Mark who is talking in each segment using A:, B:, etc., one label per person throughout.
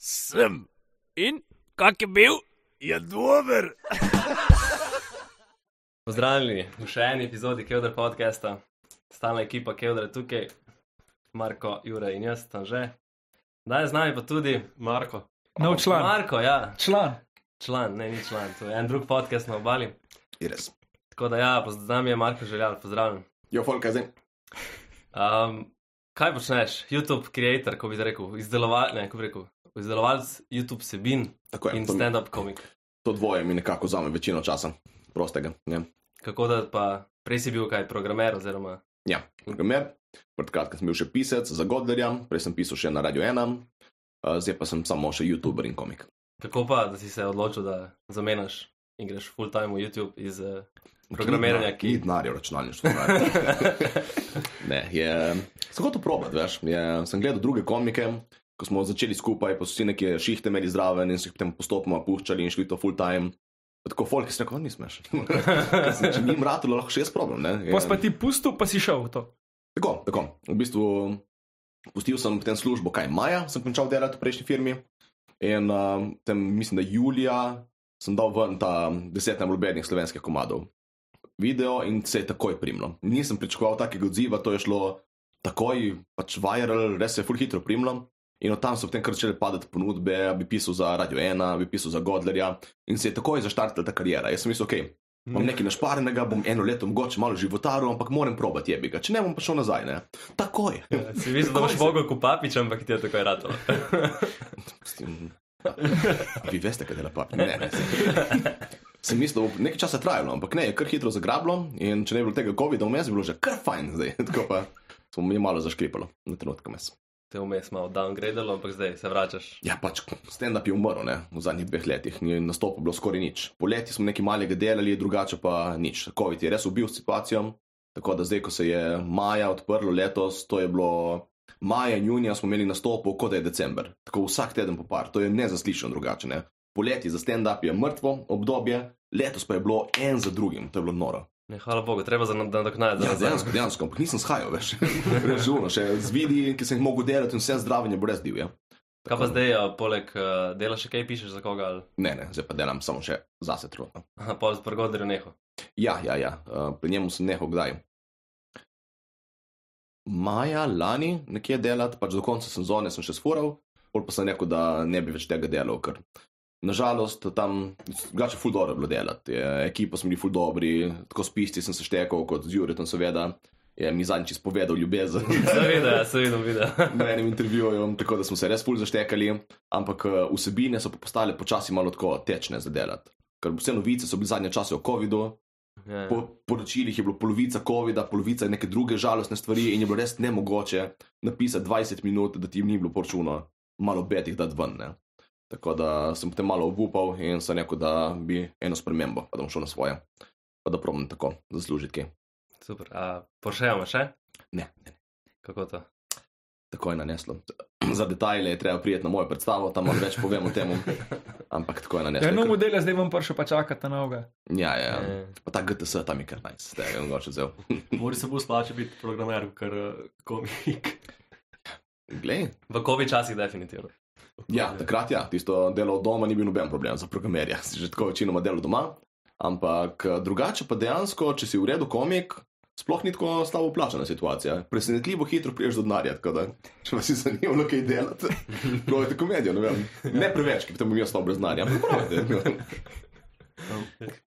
A: Sem.
B: In kak je bil?
A: Je dober.
C: Pozdravljeni v še eni epizodi Kevdra podcasta. Stalna ekipa Kevdra je tukaj, Marko, Jure in jaz tam že. Danes z nami pa tudi Marko.
D: Nov član.
C: Marko, ja,
D: član.
C: član, ne ni član, to je en drug podcast na obali.
A: Res.
C: Tako da ja, poz- z nami je Marko Željan, pozdravljen.
A: Jo, folka, zdaj.
C: Um, kaj počneš? YouTube creator, ko bi zdaj rekel, izdelovalec, ne, ko bi rekel, izdelovalec YouTube sebin
A: Tako je.
C: in
A: To, mi-
C: stand-up komik.
A: to dvoje mi nekako vzame večino časa. Prostega. Ja.
C: Kako da pa prej si bil kaj programer oziroma
A: ja. Primer, pred kratkim sem bil še pisec za Godlerja, prej sem pisal še na Radio 1, eh, zdaj pa sem samo še YouTuber in komik.
C: Kako pa, da si se odločil, da zamenjaš in greš full time v YouTube iz eh, programiranja,
A: Ni
C: ki
A: denarja v računalništvu. ne, je, sem hotel probati, veš. Je, sem gledal druge komike, ko smo začeli skupaj, pa so vsi neke šihte imeli zraven in so jih potem postopoma puščali in šli to full time. Pa Tako folk, ki se rekel, nismeš. Če mi jim ratalo, lahko še jaz probam. ne. Je-
D: Pos pa ti pustil, pa si šel v to.
A: Tako, tako. V bistvu pustil sem potem službo, kaj maja, sem končal delati v prejšnji firmi. In uh, tam mislim, da julija sem dal ven ta deset najbolj slovenskih komadov. Video in se je takoj primlo. Nisem pričakoval takega odziva, to je šlo takoj, pač viral, res se je full hitro primlo. In od tam so potem kar začele padati ponudbe, ja, bi pisal za Radio 1, bi pisal za Godlerja in se je takoj zaštartila ta karijera. Jaz sem mislil, ok, Imam nekaj našparenega, bom eno leto mogoče malo životaril, ampak moram probati jebiga. Če ne bom pa šel nazaj, ne. Takoj.
C: Ja, si videl, da
A: Takoj
C: boš
A: se-
C: mogel kupapič, ampak ti je tako ratalo.
A: Mislim, a Vi veste, kaj dela papi. Ne, ne. Sem mislil, bo nekaj časa trajalo, ampak ne, je kar hitro zagrablo in če ne bi bilo tega COVID-a vmes, bi bilo že kar fajn zdaj. Tako pa smo mi malo zaškripalo na trenutke mes.
C: Te vmes malo downgradalo, ampak zdaj se vračaš.
A: Ja, pač stand-up je umrl ne, v zadnjih dveh letih, ni nastopa bilo skoraj nič. Poleti smo nekaj malega delali, drugače pa nič. COVID je res ubil situacijo. Tako da zdaj, ko se je maja odprlo letos, to je bilo maja in junija smo imeli nastopov, kot da je december. Tako vsak teden po par, to je nezaslišano drugače. Ne. Poleti za stand-up je mrtvo obdobje, letos pa je bilo en za drugim, to je bilo noro.
C: Ne, hvala Bogu, treba za na- nadoknaditi.
A: Ja,
C: za nazaj.
A: dejansko, dejansko, ampak nisem shajal več. Režuno, še z vidi, ki sem jih mogel delati in vse zdravljenje brez divja.
C: Kaj pa zdaj, a, poleg eh, dela še kaj pišeš za koga ali
A: Ne, ne, zdaj pa delam samo še zase trudno.
C: Aha, pol s prgodrjo neho.
A: Ja, ja, ja. Uh, pri njemu sem nehal kdaj. Maja lani nekje delati, pač do konca sezone sem še sforal, bolj pa sem rekel, da ne bi več tega delal, ker nažalost tam drugače ful dobro je bilo delati. Je, ekipa smo bili ful dobri, tako s pisti sem se štekal kot z Juretom, seveda. Je mi zadnjič izpovedal ljubezen
C: Seveda, seveda, videl.
A: na enem intervjuju, tako da smo se res ful zaštekali, ampak eh, vsebine so pa postale počasi malo tako tečne za delati. Ker vse novice so bile zadnje čase o COVID-u,
C: Ja, ja.
A: Po poročilih je bilo polovica COVID-a, polovica neke druge žalostne stvari in je bilo res nemogoče napisati 20 minut, da ti ni bilo poračuno, malo betih da ven. Ne? Tako da sem potem malo obupal in sem rekel, da bi eno spremembo, pa da bom šel na svoje, pa da probujem tako zaslužiti kaj.
C: Super. A pošejamo še?
A: Ne,
C: Kako to?
A: Tako je naneslo. Za detajle je treba prijeti na mojo predstavo, tam malo več povem o tem, ampak tako je naneslo.
D: Ja, no,
A: Ker-
D: modele zdaj vam prišel, pa čakate novega.
A: ja, ja, ja.
C: Ja.
A: Pa ta GTS tam je kar najs, tega je mogoče vzel.
E: Mori se bolj splače biti programer, ker komik.
A: Glej,
C: V kovi časih definitivno.
A: Ja, takrat ja, tisto delo od doma ni bil noben problem za programerja, si že tako večinoma delo doma. Ampak eh, drugače pa dejansko, če si v redu komik, sploh ni tako slabo plačana situacija. Presenetljivo hitro priješ do denarja, tako da če vas je zanimalo, kaj delate, pravite komedijo, ne vem. Ne preveč, ki potem bom jaz ostal brez denarja, ampak pravite.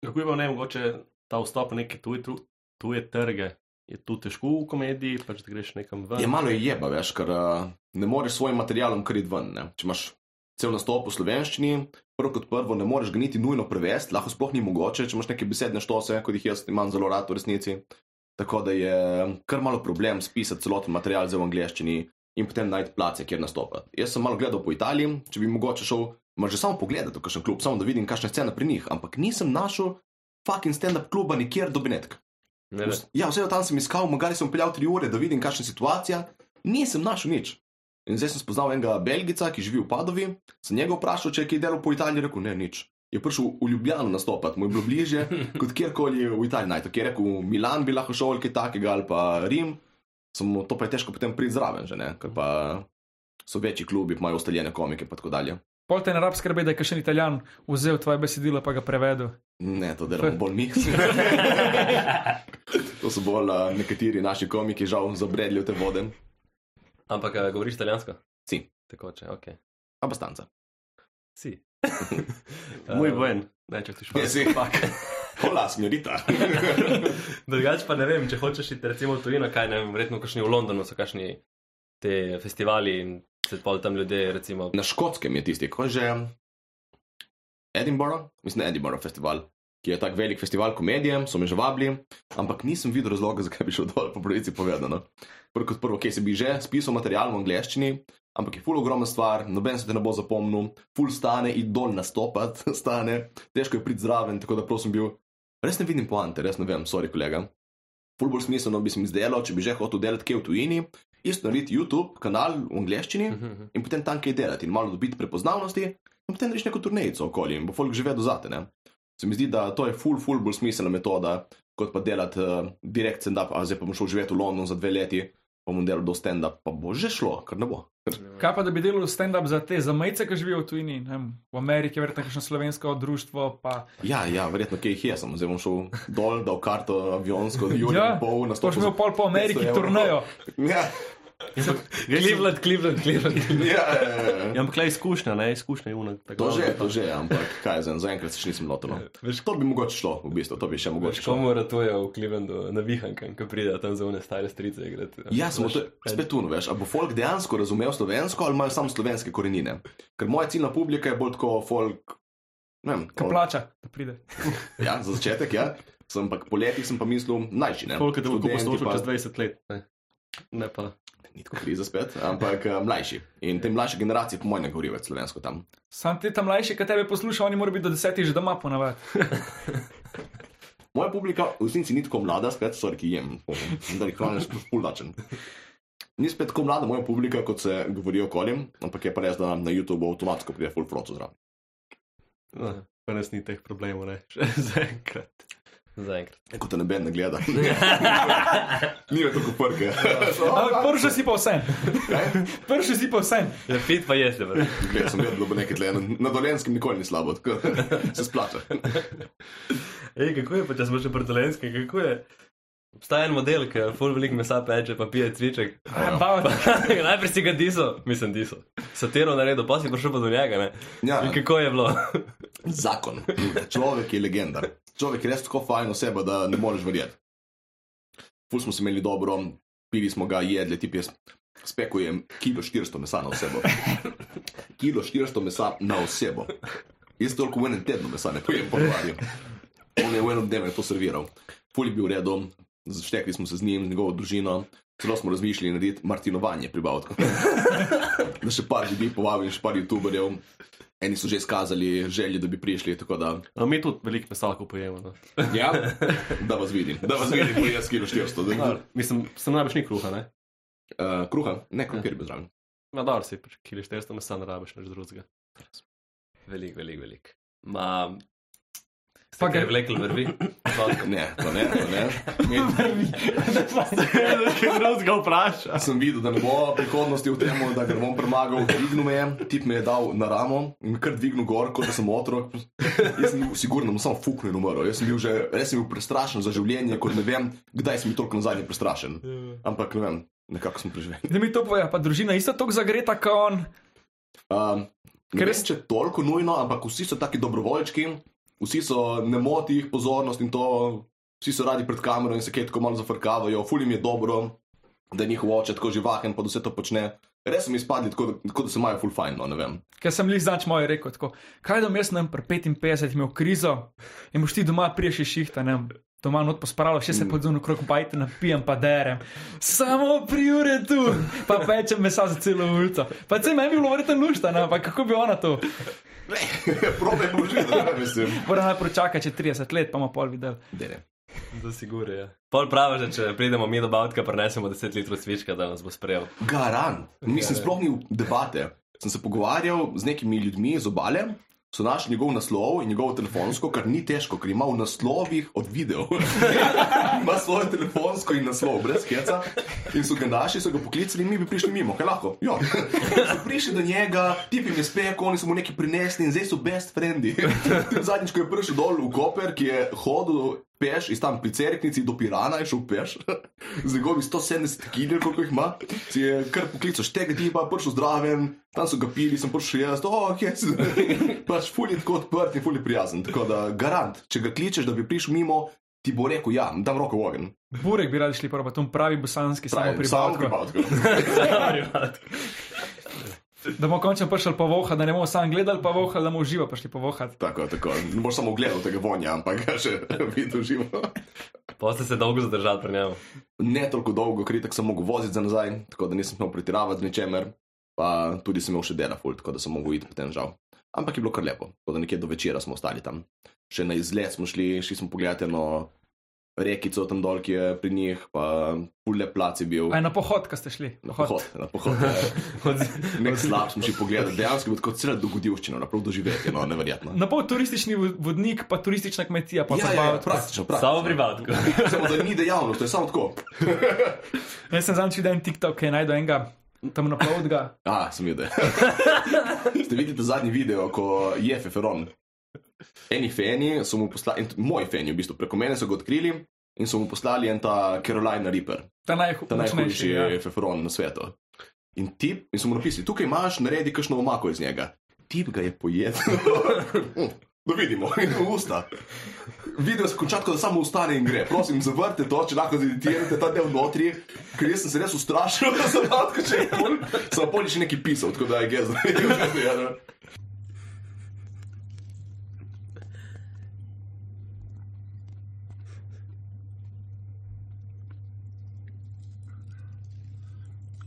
E: Kako je pa ne mogoče ta vstop v neke tuje, tru- tuje trge? Je tu težko v komediji, pač da greš nekam ven?
A: Je Ja, malo je jeba, veš, ker uh, ne moreš s svojim materialom kriti ven. Ne? Če imaš cel nastop v slovenščini, prvo kot prvo, ne moreš ga niti nujno prevesti, lahko sploh ni mogoče, če imaš neke besedne štose, kot jih jaz imam zelo rad v resnici. Tako da je eh, kar malo problem spisati celoten material za v angleščini in potem najti place, kjer nastopati. Jaz sem malo gledal po Italiji, če bi mogoče šel, ma že samo pogledati, kakšen klub, samo da vidim, kakšna je scena pri njih, ampak nisem našel fucking stand-up kluba nikjer do Benetka.
C: Ne, ne.
A: Ja, vse tam sem iskal, mogli sem peljal tri ure, da vidim, kakšna je situacija. Nisem našel nič. In zdaj sem spoznal enega Belgica, ki živi v Padovi. Sem njega vprašal, če je kaj delal po Italiji, je rekel ne, nič. Je prišel v Ljubljano nastopati, mu je bilo bliže kot kjerkoli v Italiji. Najto, ki je rekel, v Milan bi lahko šel ali kaj takega, ali pa Rim. Samo to pa je težko potem priti zraven, že ne. Ker pa so večji klubi, imajo ustaljene komike in tako dalje.
D: Pol te ne rab skrbi, da je kakšen italijan vzel tvoje besedilo pa ga prevedel.
A: Ne, to delamo bolj mi. to so bolj uh, nekateri naši komiki, žal, zabredli v te vode.
C: Ampak eh, govoriš italijansko?
A: Si.
C: Tekoče, ok.
A: Abastanca.
C: Si. Eh,
E: Muy buen. Ne, če ti
A: Ne,
E: španiš.
A: si pak. Hola, signorita.
C: Drugač pa ne vem, če hočeš iti recimo v tujino, kaj ne vem, verjetno kakšni v Londonu so kakšni te festivali in se pol tam ljudje recimo.
A: Na škotskem je tisti, ko je že Edinburgh, mislim, Edinburgh festival, ki je tako velik festival komedije, so me že vabili, ampak nisem videl razloga, zakaj bi šel dol po pravici povedano. no. Prvo kot prvo, kje se bi že spisal material v angleščini, ampak je ful ogromna stvar, noben se te ne bo zapomnil, ful stane in dol nastopat stane, težko je priti zraven, tako da prosim bil, res ne vidim poante, res ne vem, sorry kolega. Ful bolj smiselno bi se mi zdelo, če bi že hotel delati kje v tujini, isto narediti YouTube kanal v angleščini
C: Mhm,
A: in potem tam kaj delati in malo dobiti prepoznavnosti, in potem reš neko turnejico okoli in bo folk že vedel zate. Ne? Se mi zdi, da to je ful, ful bolj smiselna metoda, kot pa delati uh, direkt stand-up, a zdaj pa bom šel živeti v London za dve leti, pa bom delal do stand-up, pa bo že šlo, kar ne bo. Ker
D: Kaj pa, da bi delal stand-up za te zamejce, ki živijo v tujini, ne vem, v Ameriki, verjetno kakšno slovensko društvo, pa
A: Ja, ja, verjetno kaj jih je, samo zdaj bom šel dol, dal karto avionsko, Jurek,
D: Ja,
A: ja, pol na
D: to že imel pol po Ameriki
A: 500 evrov.
D: turnejo.
A: Ja,
C: Cleveland, Cleveland, Cleveland.
A: ja, ja, ja.
E: Ja, ampak le izkušnja, ne izkušnja, uno.
A: To že, to že, ampak kaj za, zaenkrat se še nisem lotil. no.
C: ja, Veš,
A: To bi mogoče šlo, v bistvu, to bi še mogoče
C: Veš,
A: šlo.
C: komu ratuje v Clevelandu na vihankem, ko pride tam za one stare strice igrati.
A: Ja, samo
C: Veš,
A: to je spet tu, veš, ali bo folk dejansko razumel slovensko ali imajo samo slovenske korenine. Ker moja ciljna publika je bolj tako folk. Ne vem,
D: Ki
A: folk-
D: plača, da pride.
A: Ja, za začetek, ja. Sem pa po letih sem pa mislil, najši ne.
E: Koliko te bo
A: ja. Študenti
E: poslušal
A: pa-
E: čez 20 let? Ne, ne pa.
A: Ni tako kriza spet, ampak eh, mlajši. In te mlajše generacije, po mojem, ne govorijo več slovensko tam.
D: Sam ti tam mlajši, ki tebe posluša, oni morajo biti do desetih že doma ponavadi.
A: Moja publika v resnici ni tako mlada, spet, sorry, ki jem, da jih hranim spulačen. Ni spet tako mlada moja publika, kot se govori okoli, ampak je pa res, da na YouTubu avtomatsko pride full proco zraven.
E: No, pa nas ni teh problemov, ne. Še zaenkrat.
C: Zaenkrat.
A: E, Ko te noben ne gleda. Ni več tako prge.
D: Ampak prši si pa vsem, prši si pa vsem.
C: Ja, fit pa je zdaj.
A: Gledal sem vedno, da bo nekaj tle, na, na dolenskem nikoli ni slabo, tako da se splača.
C: Ej, kako je pa, če smo še portolenskem, kako je? Obstaja en model, ki full velik mesa peče, pa pije cviček.
D: Ja, pa-
C: Najprej si ga diso, mislim diso. Satiro naredil, pa si prišel pa do njega, ne?
A: Ja,
C: In kako je bilo?
A: zakon. Človek je legenda. Človek je res tako fajn oseba, da ne moreš verjeti. Ful smo se imeli dobro, pili smo ga, jedli, ti pes. Spekujem kilo 400 mesa na osebo. Kilo 400 mesa na osebo. Jaz toliko v enem tednu mesa ne pojem, ponovadi. On je v enem dnevu to serviral. Ful je bil v redu, zaštekli smo se z njim, z njegovo družino. Celo smo razmišljali narediti martinovanje pri Bavtku. da še par ljudi povabim, še par youtuberjev. Eni so že izkazali želje, da bi prišli, tako da,
E: No, mi tudi veliko mesa lahko pojemo. No.
A: ja, da vas vidim, da vas vidim, ko jaz kilo 400. Da,
E: Mislim, sem najbrž ni kruha, ne.
A: uh, kruha, ne, krompir bi zraven.
E: Na dobro si, pač, kili 400 mesa ne rabiš, nič drugega.
C: Velik, velik, velik. Ma...
D: Pa
C: Pa kaj
D: ga-
C: je vleklo vrvi?
A: Ne, to ne, to ne.
E: Nekaj drugega vpraša.
A: Sem videl, da ne bo prihodnosti v tem, da ga ne bom premagal, dvignil me je, tip me je dal na ramo in me kar dvignil gor, kot da sem otrok. Jaz sem bil, sigurno, bom samo fuknil in umrl. Jaz sem bil že, res sem bil prestrašen za življenje, kot ne vem, kdaj sem bil toliko nazadnje prestrašen. Ampak ne vem, nekako sem preživel.
D: Da mi to poje, pa družina je isto tako zagreta, kot on.
A: Um,
D: Ker
A: Ker
D: res-
A: res če toliko nujno, ampak vsi so taki dobrovoljčki, vsi so ne moti jih pozornost in to, vsi so radi pred kamero in se kaj tako malo zafrkavajo, fulim je dobro, da je njihov oče tako živahen, pa da vse to počne. Res so mi izpadli tako, da- tako da se imajo ful fajn, no ne vem.
D: Ker sem jih znač moj rekel, tako, kaj da bom jaz nam pri 55 imel krizo in boš ti doma priješi šihta, ne vem, doma not pospravljal, še
A: Mm.
D: se podzunil krok bajte, napijem pa derem. Samo pri ure tu, pa pečem mesa za celo ulico. Pa se meni je bilo verjetno lušta, ne, pa kako bi ona to?
A: Probaj poživeti, da ne mislim.
D: Mora najprej čakati še 30 let, pa bomo pol videli.
A: Dere.
C: Za sigure, ja. Pol pravi, že če pridemo mi do Bavtka, prenesemo 10 litrov cvička, da nas bo sprejel.
A: Garant. Mislim, sploh ni debate. Sem se pogovarjal z nekimi ljudmi iz obale, so našli njegov naslov in njegovo telefonsko, kar ni težko, ker ima v naslovih od videov. ima svoje telefonsko in naslov, brez keca. In so ga naši, so ga poklicali, mi bi prišli mimo, kaj lahko. Ja. So prišli do njega, ti jim je spekel, oni so mu nekaj prinesli in zdaj so best friendi. Zadnjič, ko je prišel dol v Koper, ki je hodil peš iz tam pri cerknici do Pirana, je šel peš, z njegovimi 170 kg, koliko jih ima, si je kar poklical štega tipa, prišel zdraven, tam so ga pili, sem prišel jaz, oh, kje si. Pač fulj je tako odprt in fulj je prijazen. Tako da garant, če ga kličeš, da bi prišel mimo, ti bo rekel, ja, dam roko v ogen.
D: Burek bi radi šli prvo, tam pravi bosanski samo
A: Pravi, Samo
D: pripadko.
A: pripavtko.
D: Da bomo končno prišli povohati, da ne bomo samo gledali povohati, da bomo uživo prišli povohati.
A: Tako, tako. Ne boš samo gledal tega vonja, ampak ga še videl živo.
C: Poste se dolgo zadržati pri njemu.
A: Ne toliko dolgo, kritik sem mogel voziti za nazaj, tako da nisem smel pretiravati z ničemer, pa tudi sem imel še dela ful, tako da sem mogel iti potem žal. Ampak je bilo kar lepo, tako da nekje do večera smo ostali tam. Še na izlet smo šli, šli smo pogledati eno rekico tam dol, ki je pri njih, pa pule plac je bil.
D: Aj na pohod, ko ste šli.
A: Na pohod, na pohod. ja. Nek slab smo šli pogledati, dejansko je bilo kot celo dogodivščino, naprav doživetje, no, neverjetno.
D: Na pol turistični vo- vodnik, pa turistična kmetija, pa ja,
A: Ja, ja, ja,
D: zabava.
A: praktično,
C: Samo
A: praktično.
C: privatko.
A: Samo da ni dejavnost, to je samo tako.
D: Jaz sem zadnjič videl en TikTok, ki je najdel enega tam na plovdga.
A: A, sem videl. Ste videli ta zadnji video, ko je Feferon? Eni feni so mu poslali, en, moj feni v bistvu, preko mene so ga odkrili in so mu poslali en ta Carolina Reaper,
D: Ta
A: ta najhujši
D: najhujši.
A: ja.
D: ja.
A: Feferon na svetu. In tip, in so mu napisali, tukaj imaš, naredi kakšno omako iz njega. Tip ga je pojedel. Mm, Da vidimo, in v usta. Video se konča, tako da samo ustane in gre. Prosim, zavrte to, če lahko zeditirate ta del notri, ker jaz sem se res ustrašil, da sem lahko še en. Sem polje še nekaj pisal, tako da je gezo.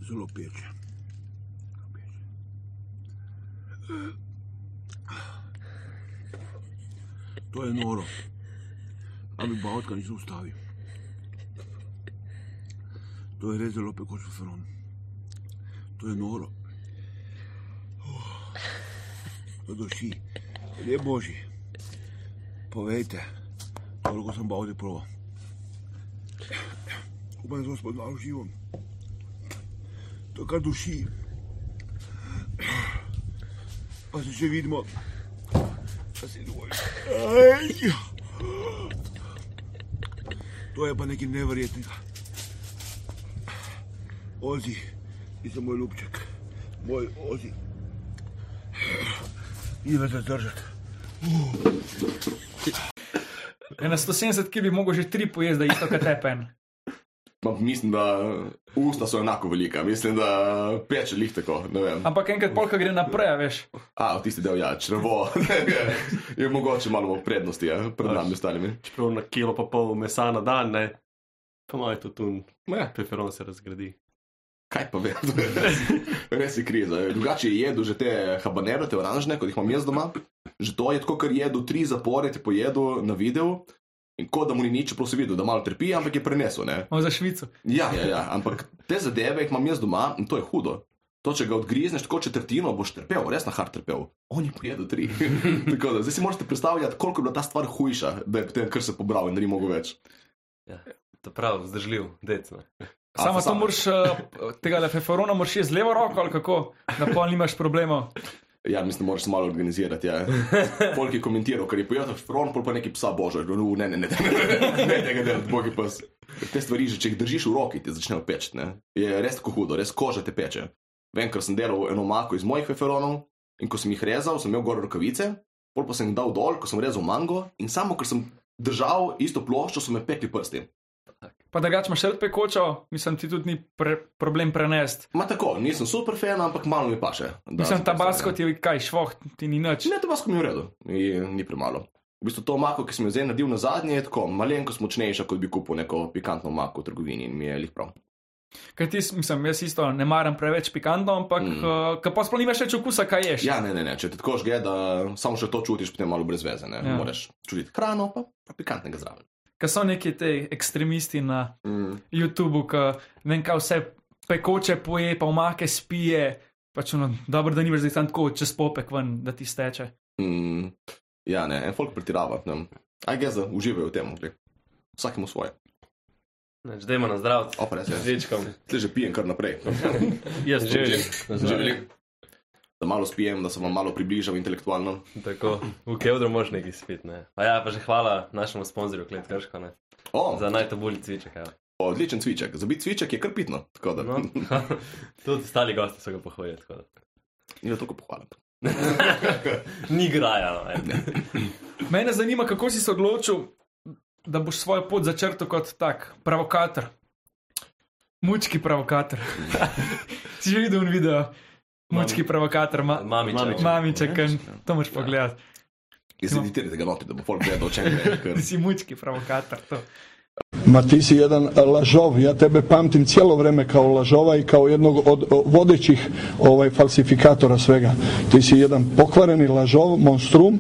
F: Zelo peče. To je noro. Ali bavka nisem ustavil. To je res zelo pekoč feron. To je noro. Oh, To duši. Ljudje božji. Povejte, koliko sem bavti proval. Upam, da sem spodnal živom. To kar duši. Pa se še vidimo. Pa se dovolj. Ej! To je pa nekaj neverjetnega. Ozi, ti si moj ljubček, moj ozi. Ni več zadržati.
D: Ja, Na 170 kg bi mogel že tri pojesti, da je isto kot tepen.
A: Mislim, da usta so enako velika, mislim, da peče lih tako. ne vem.
D: Ampak enkrat polka gre naprej, a veš.
A: A, v tisti del, ja, črvo. je mogoče malo v prednosti, ja, pred nami ostalimi.
E: Pač, Čeprav na kilo pa pol mesa na dan, ne, pa malo je tudi tu,
A: Ma ja,
E: peferon se razgradi.
A: Kaj pa veš? Res je kriza. Drugače je jedel že te habanere, te oranžne, kot jih imam jaz doma. Že to je tako, ker jedel tri zapored, je pojedel na video. In kot da mu ni nič, čeprav si videl, da malo trpi, ampak je prenesel. Ne?
D: Imamo za Švico.
A: Ja, ja, ja, ampak te zadeve jih imam jaz doma in to je hudo. To, če ga odgrizneš tako četrtino, boš trpel, res na hard trpel. On je pojedel tri. tako da zdaj si morate predstavljati, koliko je bila ta stvar hujša, da je potem kar se pobral in da ni mogel več.
C: To prav, vzdržljiv, decno.
A: A,
D: Samo to
A: pa sam.
D: moraš, eh, tega leferona moraš jesti z levo roko ali kako, da pol nimaš problemov.
A: Ja, mislim, da moraš se malo organizirati. Ja. Polk je komentiral, ker je pojedel špron, pol pa neki psa božje. No, ne, ne, ne, ne, ne, tega ne, bogi pes. Te stvari, že če jih držiš v roki, ti začnejo peči. ne. Je res tako hudo, res koža te peče. Vem, ker sem delal eno mako iz mojih feferonov in ko sem jih rezal, sem imel gor rokavice, pol pa sem jih dal dol, ko sem rezal mango in samo ker sem držal isto ploščo, so me pekli prsti.
D: Pa drugače imaš še pekočo, mislim, ti tudi ni pre, problem prenesti.
A: Ma tako, nisem super fan, ambaš malo mi paše. da
D: Mislim,
A: sem prsten,
D: tabasko
A: ja.
D: ti je kaj, švoh, ti ni nič.
A: Pač Ne, to vas mi je v redu, ni, ni premalo. V bistvu to mako, ki sem jo zdaj naredil na zadnje, je tako malenkost močnejša, kot bi kupil neko pikantno mako v trgovini in mi je lih prav.
D: Kaj ti, mislim, jaz isto ne maram preveč pikantno, ampak mm.
A: Mm.
D: uh, pa sploh nimaš več okusa, kaj ješ.
A: Ja, ne, ne, ne. če ti tako žge, da samo še to čutiš, potem malo brez veze.
D: Ja.
A: Ja. Moraš čutiti hrano, pa, pa pikantnega zraven.
D: Ker so neki te ekstremisti na
A: Mm.
D: YouTubu, ki ne vem, kaj vse pekoče no, poje, pa omake spije. Pač ono, dobro, da ni več zdaj tam tako čez popek ven, da ti steče.
A: Mm, ja, ne, en folk pretirava. Aj gez, da uživajo v tem, glej. Vsakemu svoje.
C: Neč, dajmo na zdrav,
A: Opa, res je.
C: žličkom.
A: Tle že pijem kar naprej.
E: Jaz živim.
A: Želim, da malo spijem, da se vam malo približam intelektualno.
C: Tako, v Kevdru moš neki spit, ne. A ja, pa že hvala našemu sponzorju, Klet Krško, ne.
A: O,
C: Za najtobulji cviček, ja. evo.
A: odličen cviček. Zabit cviček je krpitno, tako da.
C: No. Tudi stali gosti so ga pohvalili, tako da.
A: Ni toliko pohvala.
C: Ni graja, no. ej.
D: Mene zanima, kako si se odločil, da boš svojo pot začrtal kot tak, provokator. Mučki provokator. si že videl en video, mučki provokator, ma,
C: Mamiče.
E: Mamiče.
D: mamiček, to moš pogledati.
A: Jaz se ditiram tega noti, da bo folk gledal, če ne. Ker...
D: Ti si mučki provokator. To.
G: Ma ti si jedan lažov, ja tebe pamtim cijelo vrijeme kao lažova i kao jednog od o, vodećih ovaj falsifikatora svega. Ti si jedan pokvareni lažov, monstrum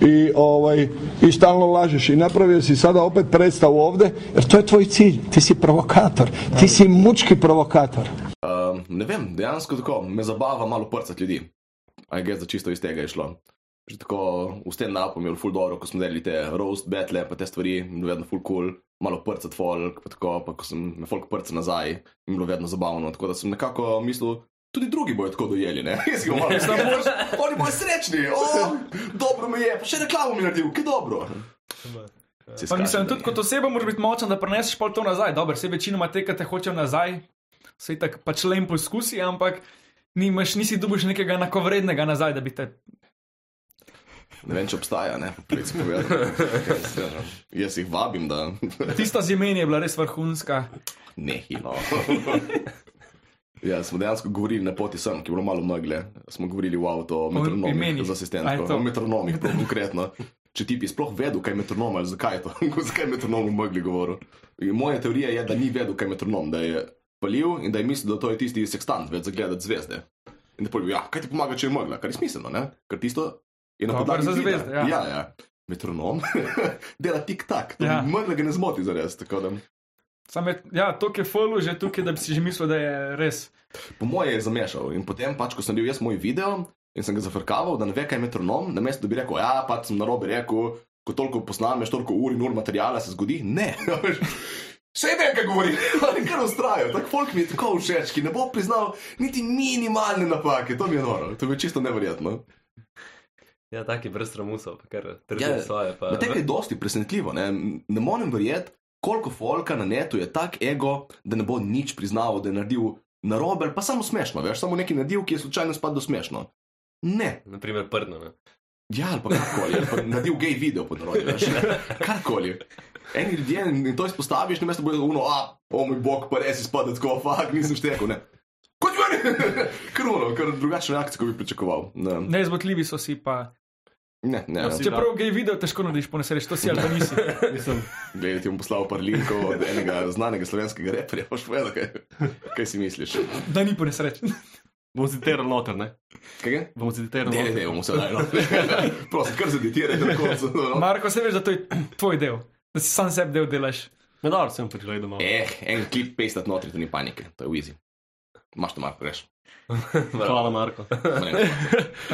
G: i ovaj i stalno lažeš i napravio si sada opet predstavu ovdje jer to je tvoj cilj, ti si provokator, ti si mučki provokator.
A: Um, ne vem, dejansko tako, me zabava malo prcati ljudi. Aj gez, da čisto iz tega je šlo. Že tako v tem napu mi je bilo ful dobro, ko smo delali te roast battle, pa te stvari, mi je bilo vedno ful cool, malo prcati folk, pa tako, pa ko sem me folk prca nazaj, mi je bilo vedno zabavno. Tako da sem nekako mislil, tudi drugi bojo tako dojeli, ne? Jaz ga moram, mislim, moraš, oni bojo srečni, o, dobro mi je, pa še reklamo mi je naredil, ki dobro. Se
D: Pa
A: izkaže,
D: mislim,
A: da
D: tudi
A: je.
D: kot oseba moraš biti močen, da preneseš pol to nazaj. Dobro, se večinoma te, ki te hočejo nazaj, se tak pač le jim poskusi, ampak nimaš, nisi dubiš nekega enakovrednega nazaj, da bi te.
A: Ne vem, če obstaja, ne, prej si povedal. Jaz jih vabim, da
D: Tista z imeni je bila res vrhunska.
A: Ne, hilo. Ja, smo dejansko govorili na poti sem, ki je bilo malo megle. Smo govorili v avtu o metronomih
D: imenih.
A: z
D: A je
A: asistentko.
D: to?
A: O metronomih, prav konkretno. Če ti bi sploh vedel, kaj je metronom ali zakaj je to, zakaj je metronom v megli govoril. In moja teorija je, da ni vedel, kaj je metronom, da je palil in da je mislil, da to je tisti sekstant, več zagledati zvezde. In da pravi, ja, kaj ti pomaga, če je megla, kar je smiselno, ne? Ker tisto je na
D: Dobro
A: podlagi
D: za
A: vida.
D: zvezde, ja.
A: ja, ja. Metronom dela tik-tak, to
D: Ja.
A: ja. megla ga ne zmoti za res, tako da.
D: Sam je, ja, to je folu že tukaj, da bi si že mislil, da je res.
A: Po moje je zamešal in potem, pač, ko sem bil jaz moj video in sem ga zafrkaval, da ne ve, kaj je metronom, na mestu, da bi rekel, ja, pač sem narobe rekel, ko toliko posnameš, toliko ur in ur materijala se zgodi. Ne, še ne, kaj govori, ali kar ustrajajo. Tak folk mi je tako všeč, ki ne bo priznal niti minimalne napake, to mi je noro, to mi je čisto neverjetno.
C: Ja, taki brez ramusov, pa kar trdi
A: Ja,
C: svoje. Pa,
A: Na tega je dosti presenetljivo, ne, ne morem verjeti, koliko folka na netu je tak ego, da ne bo nič priznaval, da je naredil narobe, ali pa samo smešno, veš, samo nekaj naredil, ki je slučajno spadlo smešno. Ne,
C: Naprimer, prdno, no. ne.
A: ja, ali pa karkoli, ali pa naredil gej video pod rojem, veš, karkoli. Eni ljudje in to izpostaviš, na mesto bojo uno, a, o moj bog, pa res izpade tako, fak, nisem štekel, ne. Kot meni, kruno, ker drugačne reakcije, kot bi pričakoval. Ne, ne,
D: Neizbotljivi so si pa.
A: ne. ne.
E: si-
D: Čeprav gej video težko narediš, po nesreči, to si ali pa nisi.
E: Mislim,
A: Gledaj, ti bom poslal par linkov od enega znanega slovenskega reperja, boš povedal, kaj, kaj si misliš.
D: Da ni po nesreči.
E: bom citiral noter, ne?
A: Kaj je?
E: Bom citiral
A: Ne, ne,
E: noter.
A: ne, bomo sedaj. No. Prosim, kar zeditiraj na koncu. No.
D: Marko, se veš, da to je tvoj del, da si sam sebi del delaš.
E: Ne, dobro, sem pregledal malo.
A: Eh, en klip pestat notri, to ni panike, to je easy. Maš to Marko, greš.
E: Hvala, Marko.
A: Ne,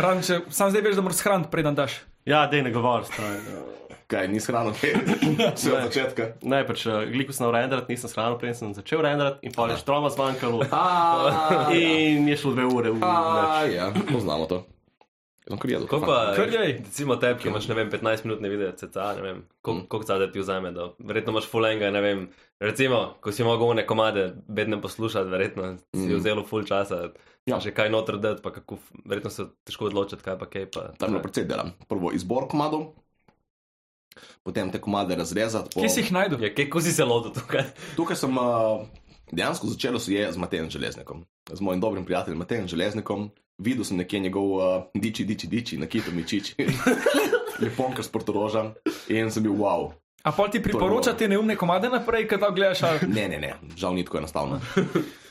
D: Razen, če sam zdaj veš, da moraš shraniti, preden daš.
E: Ja, dej ne govor, stari.
A: Kaj, nisi hrano, kaj? Vse od začetka.
E: Ne, pač eh, gliko sem renderat, nisem shranil, prej sem začel renderat in pa je štroma zmanjkalo.
C: Ja,
A: A,
E: In je šlo dve ure. v
A: A,
E: noč.
A: ja, poznamo to. Sem kar jedel.
C: Ko pa,
D: Kar jej.
C: recimo, tebi, ki imaš, ne vem, 15 minut ne vidiš, cca, ne vem, kol-
A: Mm.
C: koliko cade ti vzame, da verjetno imaš fulenga, ne vem, recimo, ko si mogel one komade bedne poslušati, verjetno si
A: Mm.
C: mm. vzel ful časa,
A: Ja.
C: ja. že kaj noter dati, pa kako, f- verjetno se težko odločiti, kaj pa kaj pa.
A: Tam je bilo precej dela. Prvo izbor komadov, potem te komade razrezati. po-
D: Kje si jih najdel?
C: Ja, kako si se lotil tukaj?
A: Tukaj sem uh, dejansko začel se je z Matejem Železnikom, z mojim dobrim prijateljem Matejem Železnikom. Videl sem nekje njegov uh, diči, diči, diči, nakito mi čiči. Leponka s portoroža in sem bil wow.
D: A pa ti priporoča te neumne komade naprej, kad to gledaš. ali-
A: Ne, ne, ne, žal ni tako enostavno.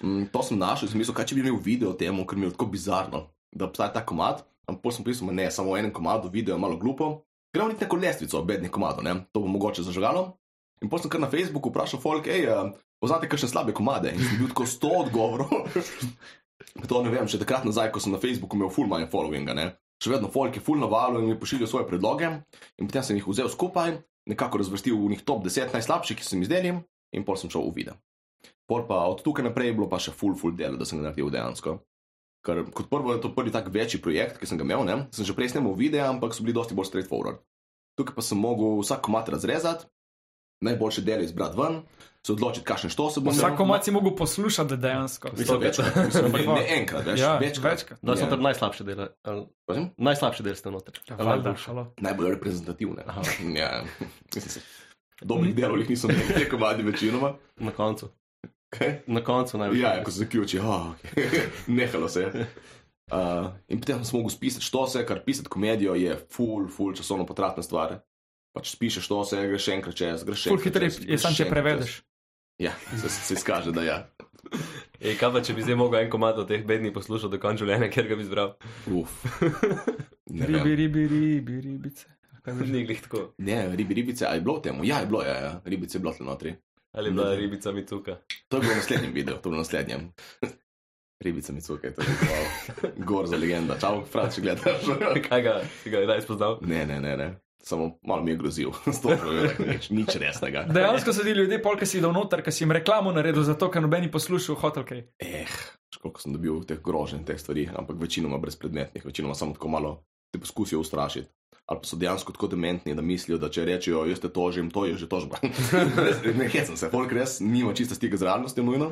A: Mm, to sem našel in sem mislil, kaj če bi imel video o tem, ker mi je tako bizarno, da obstaja ta komad. Ampak pol sem pisal, ne, samo v enem komadu, video je malo glupo. Gremo niti neko lestvico, bedni komado, ne? to bo mogoče zažgalo. In potem sem kar na Facebooku vprašal, folk, hej, poznate kakšne slabe komade? In sem bil tako 100 odgovorov. to ne vem, še takrat nazaj, ko sem na Facebooku imel full manj followinga, ne. še vedno folk je full na valu in mi pošiljajo svoje predloge. In potem sem jih vzel skupaj, nekako razvrstil v njih top 10 najslabših, ki sem jih izdelil, in pol sem šel v video. Pol pa od tukaj naprej je bilo pa še full, full delo, da sem ga naredil dejansko. Ker kot prvo je to prvi tak večji projekt, ki sem ga imel, ne? sem že prej snemal videe, ampak so bili dosti bolj straightforward. Tukaj pa sem mogel vsak komat razrezati, najboljše dele izbrati ven, se odločiti, kakšen što se bo
D: Vsak komat si mogel poslušati da dejansko.
A: No, Mislim, večkrat, mislim, ne, ne enkrat, več,
D: Ja,
A: večkrat.
D: večkrat.
E: Da so
A: Ja.
E: tam No, najslabše dele. ali-
A: Prosim?
E: Najslabše dele ste noter.
D: Ja,
E: Ali
D: valjda,
E: najboljše?
D: halo.
A: Najbolj reprezentativne. Ja, mislim se. Dobrih delov jih nisem videl, te komadi večinoma.
E: Na koncu.
A: Kaj?
E: Na koncu najbolj.
A: Ja, ja, ko se zaključi, oh, nehalo se je. Uh, in potem sem mogel spisati što se, ker pisati komedijo je full, full časovno potratna stvar. Pač spišeš što se, greš še enkrat čez, greš še
D: Ful
A: enkrat
D: hitro je,
A: čez,
D: je
A: greš
D: sam
A: še
D: če
A: enkrat
D: prevedeš.
A: čez. Ja, se, se izkaže, da ja.
C: Ej, kaj pa, če bi zdaj mogel en komad od teh bednih poslušati do konca življenja, ker ga bi zbral?
A: Uf. Ne, vem.
D: Ribi, ribi, ribi, ribice.
C: Ni glih tako.
A: ne, ribi, ribice, ali je bilo temu? Ja, je bilo, ja, ja. ribice je bilo tle notri.
C: Ali je bila ribica mi tukaj?
A: To je bilo v naslednjem videu, to je bilo v naslednjem. Ribica mi cukaj, to je bilo gor za legenda. Čau, frat, če gledaš.
C: Kaj ga, si ga je kdaj spoznal?
A: Ne, ne, ne, ne. Samo malo mi je grozil, stopno je rekel, nič, nič resnega.
D: Dejansko so ti ljudje, polka si dal noter, ker si jim reklamo naredil, zato ker nobeni poslušal hotelkej.
A: Eh, veš, koliko sem dobil teh groženj, teh stvari, ampak večinoma brezpredmetnih, večinoma samo tako malo te poskusijo ustrašiti. Ali pa so dejansko tako dementni, da mislijo, da če rečejo, "Ja, jaz te tožim, to je že tožba. Res, ne hecam se, folk res nima čista stika z realnostjo, nujno.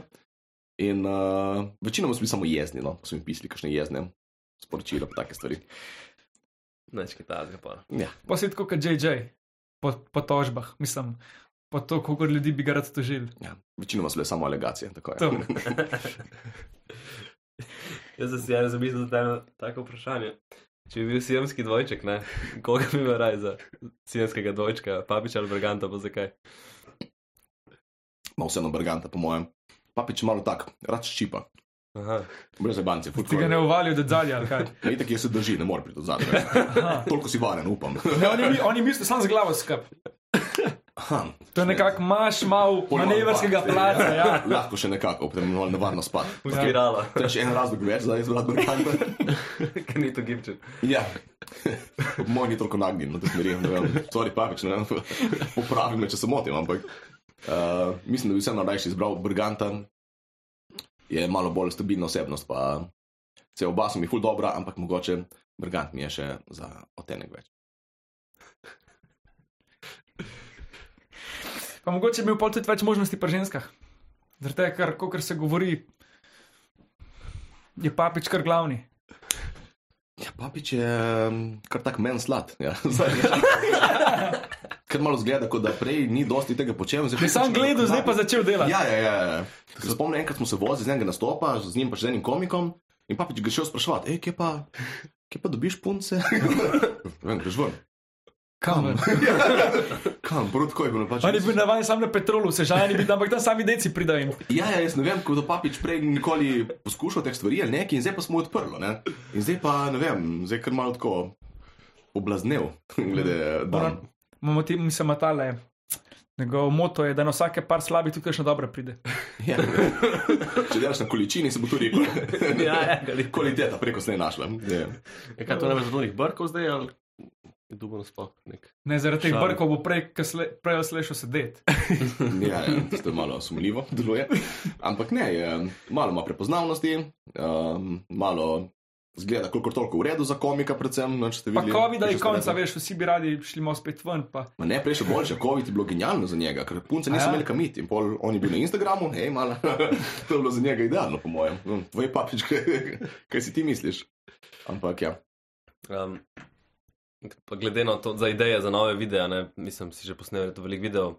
A: In uh, večinoma so bili samo jezni, no, pa so mi pisali kakšne jezne sporočila, pa take stvari.
C: Neč kaj tazga pa.
A: Ja,
D: Pa si tako kot JJ, po, po tožbah, mislim, po to, koliko ljudi bi ga rad tožil.
A: ja. Večinoma so bile samo alegacije, tako je.
D: To.
C: Jaz sem si eno zamislil da eno tako vprašanje. Če bi bil sijamski dvojček, ne? Koga bi imel raj za sijamskega dvojčka, papiča ali braganta, pa zakaj?
A: Ma vseeno brganta, po mojem. Papič je malo tak, rad ščipa,
C: Aha.
A: brez banke,
D: Ti ga ne uvalijo, da dalje, ali kaj.
A: Vidite, kje se drži, ne more priti od zadaj. Toliko si varen, upam.
D: Ne, Ja, oni, mi- oni mislijo samo z glavo skup.
A: Aha,
D: To je nekako, imaš malo
A: pol malo
D: manevrskega
A: varnosti,
D: placa, ja.
A: Lahko še nekako, potem malo nevarno spad.
C: V spiralo,
A: To je še en razlog več, da je zelo brganta.
C: ker ni to gibčen.
A: Ja. Moj ni toliko nagnjen, da smeri, ne vem, stvari papič, ne vem, popravi me, če se motim, ampak uh, mislim, da bi vseeno rajši izbral Brganta, je malo bolj stabilna osebnost, pa se oba so mi ful dobra, ampak mogoče Brgant mi je še za otenek več.
D: Pa mogoče bi imel pol tudi več možnosti pri ženskah. Zaradi tega, ker, kot se govori, je papič kar glavni.
A: Ja, papič je um, kar tak men slad. Ja. Zdaj, Ker malo zgleda, kot da prej ni dosti tega počel. pač
D: Je sam gledal, zdaj pa začel delati.
A: Ja, ja, ja. ja. Ker se Spomnim, enkrat smo se vozili z enega nastopa, z njim pa še z enim komikom in papič ga je šel sprašovati, hej, kje pa, kje pa dobiš punce? Vem, greš ven.
D: Kam?
A: Kam, prav tako je bilo pač.
D: On je bil navaden sam na petrolu, sežani biti, ampak tam sami deci pridajo jim.
A: Ja, ja, jaz ne vem, kako papič prej nikoli poskušal teh stvari ali nekaj in zdaj pa smo odprlo. Ne? In zdaj pa ne vem, zdaj je kar malo tako oblaznel, glede dan.
D: Imamo ti, mislim, matale. Njegov moto je, da na vsake par slabih tukaj še dobro pride.
A: Ja. Če delaš na količini, se bo tudi rekel.
C: Ja, ja, ali
A: Kvaliteta preko se ne našla. Ja.
E: Ja, kaj to ne veš od onih brkov zdaj, ali je dubno sploh nek.
D: Ne, zaradi teh
E: Šalo.
D: brkov bo prej, kasle, prej slešal sedeti.
A: Ja, ja, to je malo sumljivo, deluje. Ampak ne, je, malo ima prepoznavnosti, um, malo zgleda, koliko toliko v redu za komika, predvsem. No, če ste
D: Pa
A: videli,
D: COVID-a je
A: če ste
D: konca,
A: rekli.
D: veš, vsi bi radi šli malo spet ven. Pa.
A: Ma ne, prej še boljše, COVID je bilo genialno za njega, ker
D: A
A: punce niso
D: ja?
A: imeli kam iti. In pol on je bil na Instagramu, hej, malo. to je bilo za njega idealno, po mojem. Hm, Povej, papič, kaj, kaj si ti misliš. Ampak ja.
C: Um, pa glede na to, za ideje za nove videe, ne, mislim, si že posnel to veliko videov.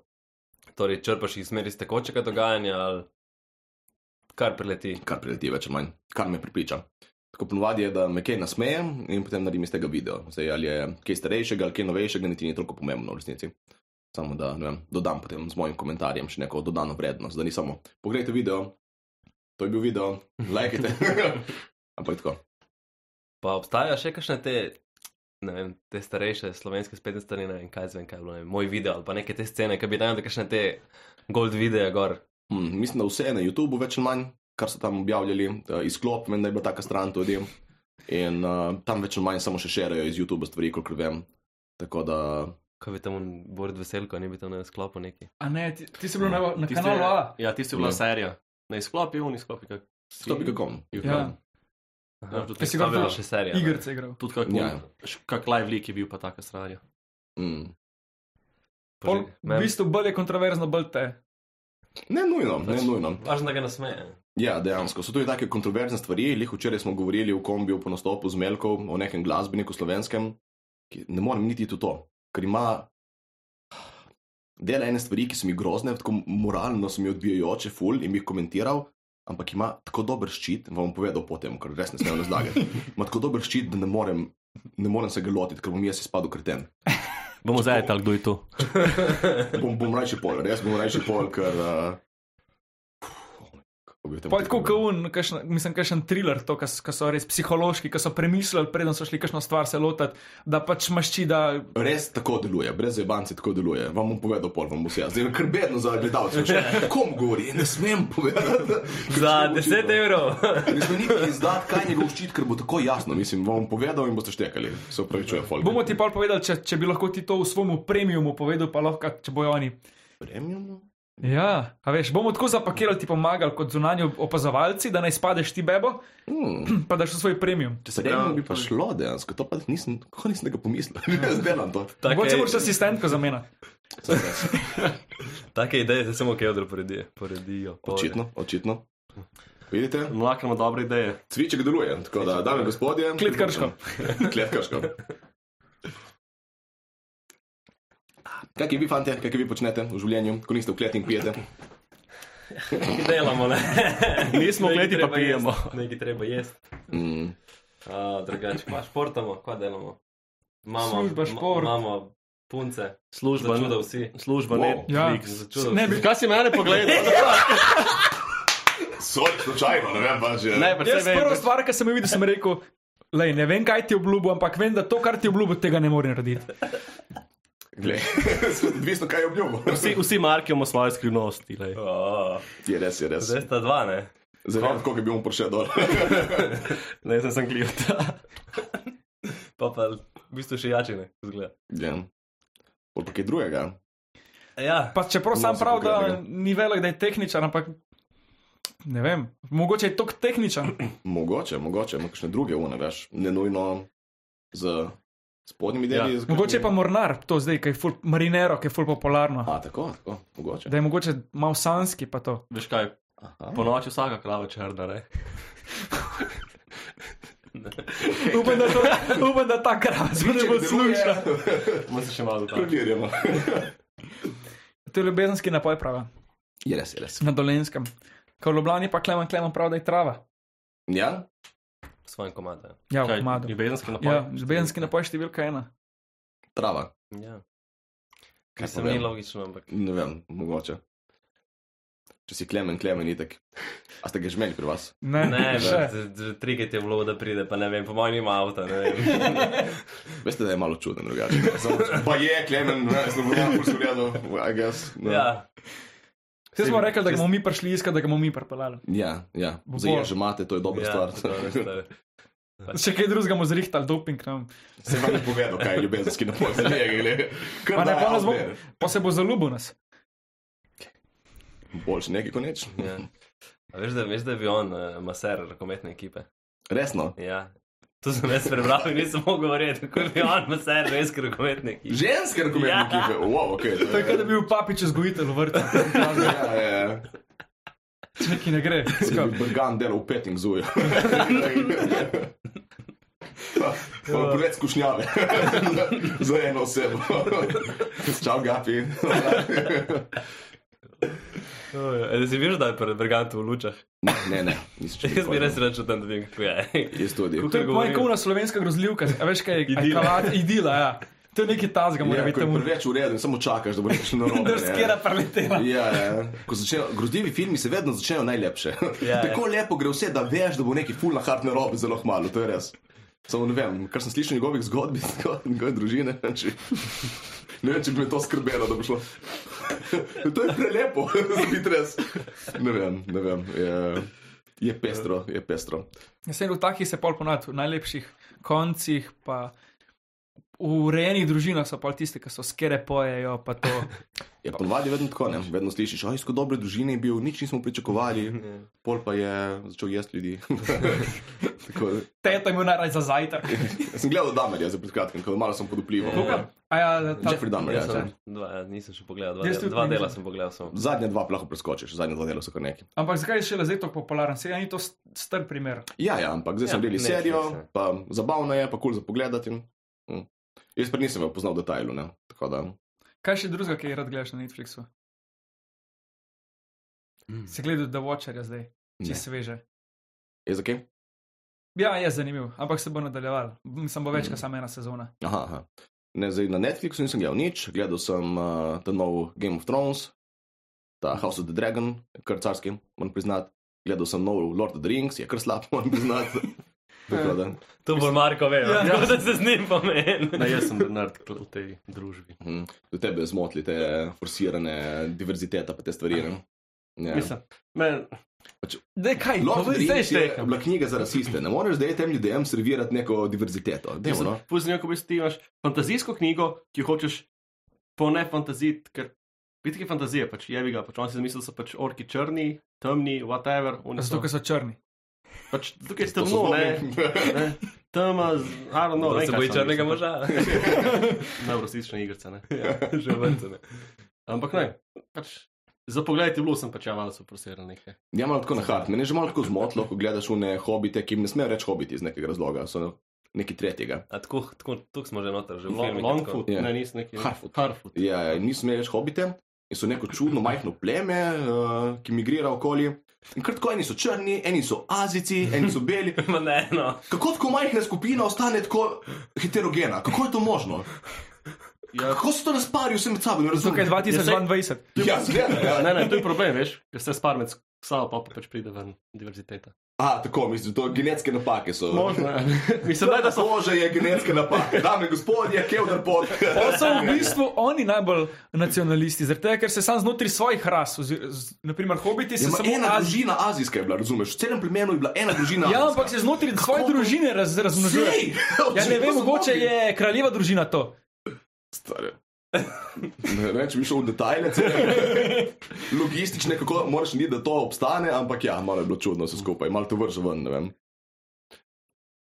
C: Torej, črpaš jih iz smeri iz tekočega dogajanja ali kar preleti.
A: kar prileti več ali manj, kar me pripriča. Tako ponovadi je, da me kaj nasmeje in potem naredim iz tega video. Zdaj, ali je kaj starejšega ali kaj novejšega, niti ni toliko pomembno v resnici. Samo da ne vem, dodam potem z mojim komentarjem še neko dodano vrednost, da ni samo poglejte video, to je bil video, lajkajte. Ampak tako.
C: Pa obstajajo še kakšne te, ne vem, te starejše slovenske spletne strani, ne vem, kaj zvem, kaj je bilo, ne vem, moj video ali pa neke te scene, ki bi dajal kakšne te gold videe gor.
A: Mm, mislim, da vse je na YouTubu več ali manj, kar so tam objavljali, eh, izklop, vem, da je bila taka stran tudi. In uh, tam več ali manj samo še šerajo iz YouTube stvari, kolikor vem. Tako da
C: Kaj bi tam on, Boris Veselko, ni bi tam na sklopu neki.
D: A ne, ti, ti si bil na, na kanalu A.
E: Ja, tisti je bila
A: Ja.
E: serija. Na izklopi, on izklopi. Kak...
A: stopi kako.
D: Ja.
C: Aha,
E: tudi
D: Kaj si ga
E: stavila.
C: bila
D: gledal?
C: še serija. ne?
D: Igrice igral.
E: Tudi kak,
A: Ja.
E: ja. kak live lik je bil pa taka sranja.
A: Mm.
D: Pol,
C: Poži-
D: v
C: meni-
D: bistvu bolj je kontroverzno, bolj te.
A: Ne nujno, ne nujno.
C: Važno, da ga nasmeje.
A: Ja, dejansko so tudi take kontroverzne stvari. Lih včeraj smo govorili v kombiju po nastopu z Melkom o nekem glasbeniku slovenskem, ki ne morem niti iti v to, ker ima dela ene stvari, ki so mi grozne, tako moralno so mi odbijajoče, ful in bi jih komentiral. Ampak ima tako dober ščit, vam bom povedal potem, ker res ne smem razlagati. Ima tako dober ščit, da ne morem, ne morem se ga lotiti, ker bom jaz izpadel kreten.
E: Bomo zdaj, kdo je to.
A: Bom, bom rajši pol, res bom rajši pol, ker. Uh, kako bi o tem
D: Pa je tako
A: rekel?
D: kot un, kakšen- mislim, kakšen thriller, to, ki so res psihološki, ki so premislili, preden so šli kakšno stvar se lotiti, da pač mašči, da
A: Res tako deluje, brez jebanci tako deluje. Vam bom povedal, pol vam bo vse. Zdaj je kar bedno za gledalce. še. Kom govori, ne smem povedati.
C: Za 10 evrov.
A: Ne smem niti izdati, kaj je njegov ščit, ker bo tako jasno. Mislim, vam bom povedal in boste štekali. Se upravičujem, folk.
D: Bomo ti pa povedali, če, če bi lahko ti to v svojem premiumu povedal, pa lahko, če bojo oni.
A: premium?
D: Ja, a veš, bomo tako zapakirali, ti pomagali kot zunanji opazovalci, da ne spadeš ti bebo,
A: Hmm.
D: pa daš v svoj premium.
A: Če se premium bi pa šlo dejansko, to pa nisem, kako nisem tega pomislil. Jaz delam to.
C: Take-
D: Mogoče moraš asistentko zamenjati.
A: Saj res.
C: Take ideje se samo Kevdor poredijo. poredijo
A: Očitno, očitno. Vidite,
E: Mlaka ima dobre ideje.
A: cviček deluje. Tako da, dame in gospodje.
D: Kletkarško.
A: Kletkaško. Kaj je vi, fante, kaj vi počnete v življenju, ko niste v kleti in pijete?
C: Nekaj delamo, ne?
E: Nismo
C: Nekaj
E: gledi, pa
C: treba
E: pijemo.
C: jesti, Nekaj treba jesti.
A: Mm,
C: A, Drugače, pa športamo, kva delamo. Imamo,
D: Služba,
C: ma-
D: šport.
C: Imamo punce,
E: Služba,
C: začuda
E: ne.
C: vsi.
E: Služba, ne.
D: Ja.
C: Začuda
D: Ne
C: vsi.
D: bi
E: Kaj si mene pogledal?
A: Sorry, slučajno, ne vem pač.
E: ne,
D: Jaz
E: predvsem
D: prva
E: vem.
D: stvar, ki sem jo videl, sem rekel, lej, ne vem, kaj ti obljubim, ampak vem, da to, kar ti obljubim, tega ne morem narediti.
A: Odvisno, kaj je obljubo.
E: Vsi, vsi marki imamo svoje skrivnosti. glej.
C: Ja. A,
A: Je res, je res.
C: Zdaj sta dva, ne?
A: Zelo lahko bi bil prišel dol.
E: Ne, sem sem gledal.
C: Pa pa v bistvu še jači, ne? Zgleda.
A: Ja. Pol pa kaj drugega.
C: Ja,
D: Pa čeprav sam
A: No, se
D: prav, da
A: pogledaj.
D: ni velik, da je tehničen, ampak ne vem, mogoče je tok tehničen.
A: Mogoče, mogoče, ima kakšne druge une, veš. Ne nujno z spodnjimi deli.
E: Ja.
A: z-
D: Mogoče je pa mornar, to zdaj, ki je ful marinero, ki je ful popularno.
A: A, tako, tako, mogoče.
D: Da je mogoče malo sanski, pa to.
E: Veš kaj,
A: Aha.
E: po noči vsaka krava črna, ne?
D: Upam, da, to, upam, da ta krava zdaj ne bo slušala.
E: Moram se še malo dotakniti.
A: Preverjamo.
D: To je ljubezenski napoj, prava,
A: Je res, je res.
D: na dolenskem. Ko v Ljubljani pa klemen, klemen prav, da je trava.
A: Ja,
C: s svojim komadom.
D: Ja, v
E: Kaj,
D: komadu.
E: Ljubezenski napad.
D: Ja, ljubezenski napoj številka ena.
A: trava.
C: Ja.
A: Kaj
C: Kaj se
A: pa
C: mi
A: vem?
C: logično, ampak.
A: Ne vem, mogoče. Če si klemen, klemen, itek. A ste ga žmeli pri vas?
D: Ne,
C: Ne,
D: še.
C: trikrat je bilo, da pride, pa ne vem, po mojem ima avto, ne vem.
A: Veste, da je malo čuden drugače. Samo, Pa je klemen, ne, sem bil tam usurjeno, I guess. No.
C: Ja,
D: Vse smo rekli, da ga bomo mi prišli iskati, da ga bomo mi pripeljali.
A: Ja, ja.
D: Bo
A: Zdaj
D: bolj.
A: že imate, to je dobra
C: ja,
A: stvar.
C: dobra stvar.
D: Še kaj drugega bomo zrihtali, doping nam.
A: Se vam je povedal, kaj je ljubezenski napoj, zdaj je glede. Kar
D: Pa ne,
A: daje
D: pa, nas
A: out
D: bo,
A: there.
D: pa se bo zaljubil nas.
A: Boljše nekaj kot nič.
C: Ja. A veš, da, veš, da je bil on uh, maser rokometne ekipe.
A: Resno.
C: Ja. To sem jaz prebral in nisem mogel verjeti, kako je bil on maser res rokometne ekipe.
A: Ženske rokometne
C: Ja.
A: ekipe, wow, ok.
D: To je, kot da bi bil papič vzgojitelj v vrtu.
A: Ja, ja, ja.
D: Če neki ne gre.
A: Če
D: skop.
A: bi Brgan delal v petting zuju. Pa preveč skušnjave za eno osebo. Čau, Gapi.
C: Ja, si veš, da je pred Brigantom v lučah.
A: Ne, ne, nisem čutil.
C: Jaz bi res rečel, da ne vem, kako je.
A: Jaz tudi.
D: To je moja kuna slovenska grozljivka, a veš kaj je kalat, idila, ja. To je nekaj tazga, mora
A: Ja,
D: biti
A: ko je
D: temu.
A: preveč ureden, samo čakaš, da bo nekaj narobe.
D: Da skera preletela.
A: Ja, ja. Ko začnejo, grozljivi filmi se vedno začnejo najlepše.
C: Ja, ja.
A: Ja, Tako lepo gre vse, da veš, da bo neki full na hard narobe zelo hmalo, to je res. Samo ne vem, kar sem slišal njegovih zgodb, iz njegove- njegove družine. Če, ne vem, če bi me to skrbelo, da bi šlo. to je prelepo, za biti res. Ne vem, ne vem. Je, Je pestro, je pestro.
D: Jaz sem v takih se pol ponad, v najlepših koncih, pa v urejenih družinah so pol tiste, ki so skere pojejo, pa to.
A: Je ponovadi vedno tako, ne? vedno slišiš, oj, skozi dobre družine je bil, nič nismo pričakovali, pol pa je začel jesti ljudi. tako,
D: Teta je bil najraje za zajtrk.
A: jaz sem gledal Damerja za pred kratkim, ko malo sem pod vplivom.
D: Koga? A ja, ta,
A: Jeffrey Dahmer, ja.
C: Jaz
A: ja.
C: sem, dva, ja, nisem še pogledal, dva,
D: Jaz
C: dela,
D: tudi
C: dva
D: ne
C: dela
D: nisem.
C: sem pogledal. Sem.
A: Zadnja dva lahko preskočiš, zadnja dva dela so kar neki.
D: ampak zakaj je šele zdaj tako popularen? Se ni to st- star primer.
A: Ja, ja, ampak zdaj
C: Ja,
A: ja, sem delal
C: Netflix,
A: serijo,
C: ja.
A: pa zabavno je, pa kul cool za pogledati. Mm. Jaz pa nisem jo poznal v detajlu, ne? tako da.
D: Kaj še drugega, ki je rad gledaš na Netflixu? Se gledal The Watcherja zdaj, če
A: Hmm. Ne.
D: sveže.
A: Je za kaj?
D: Ja, je zanimiv, ampak se bo nadaljeval. Mislim, bo več
A: Hmm.
D: kot samo ena sezona.
A: Aha, aha. Ne, zdaj na Netflixu nisem gledal nič, gledal sem uh, ta nov Game of Thrones, ta House of the Dragon, kar carski, moram priznati. Gledal sem nov Lord of the Rings, je kar slab, moram priznati. Tako da,
C: To bo Marko vedel,
D: Ja.
C: ja. tako da se z njim pomeni.
E: Ne, jaz sem denar v tej družbi.
A: hm, do tebe zmotili te forsirane diverziteta, pa te stvari. Ne? Ja.
E: Mislim, men,
D: Dej, kaj,
A: Lord of the
D: povej,
A: Rings
D: zdaj,
A: je bila knjiga za rasiste. Ne moreš zdaj tem ljudem servirati neko diverziteto. Dejmo,
E: mislim,
A: no?
E: Pusti, ko veš, ti imaš fantazijsko knjigo, ki jo hočeš po ne fantazit, ker vidite, kaj je fantazija, pač je ga, pač on si zamislil, da so pač orki črni, temni, whatever. oni
D: Zato, ker so črni.
E: Pač, tukaj ste
A: To so
E: temno, ne,
A: zlomi.
E: ne, tema, arno, no,
C: Da se boji črnega moža.
E: Ne, rasistične igrice, ne.
C: ja, že vrtene.
E: Ampak ne, pač, za pogled je bilo, sem pač javal, so prosirali nekaj.
A: Ja, malo tako na hart. Mene je že malo tako zmotilo, ko gledaš une hobite, ki jim ne smejo reči hobiti iz nekega razloga, so neki tretjega.
C: A tako, tako, tako smo že noter, že v
E: Long,
C: filmu.
E: longfoot,
A: Ja.
E: ne, nisem neki.
A: Harfoot.
E: Harfoot.
A: Ja, ja, niso smeli reči hobite in so neko čudno majhno pleme, uh, ki migrira okoli. In kar tako, eni so črni, eni so azici, eni so beli.
C: Ma ne, no.
A: Kako tako majhna skupina ostane tako heterogena? Kako je to možno?
E: Ja.
A: Kako so to razparili vse med sabo? Ne
D: Zato, ker je
A: razumem.
D: 2022.
A: Ja, zgleda. Ja.
E: Ne, ne, to je problem, veš, ker se spar med sabo, pa pač pride ven diverziteta.
A: A, tako, mislim, to genetske napake so.
E: Možno, ja. mislim, da, da so.
A: Kože je genetske napake, dame in gospodje, kevdar pot.
D: Pa so v bistvu oni najbolj nacionalisti, zaradi tega, ker se sam znotraj svojih ras, ozi- z- naprimer hobiti, se
A: Ja, ma
D: samo
A: ena
D: razi.
A: družina azijska je bila, razumeš? V celem plemenu je bila ena
D: Ja,
A: družina. azijska.
D: ampak se znotraj svoje družine raz, razmnožuje.
A: Sej!
D: Ja, ne vem, mogoče je kraljeva družina to.
A: Stare. Ne rečem, bi šel v detajle, logistične, kako moraš ni, da to obstane, ampak ja, malo je bilo čudno vse skupaj, malo to vrže ven, ne vem.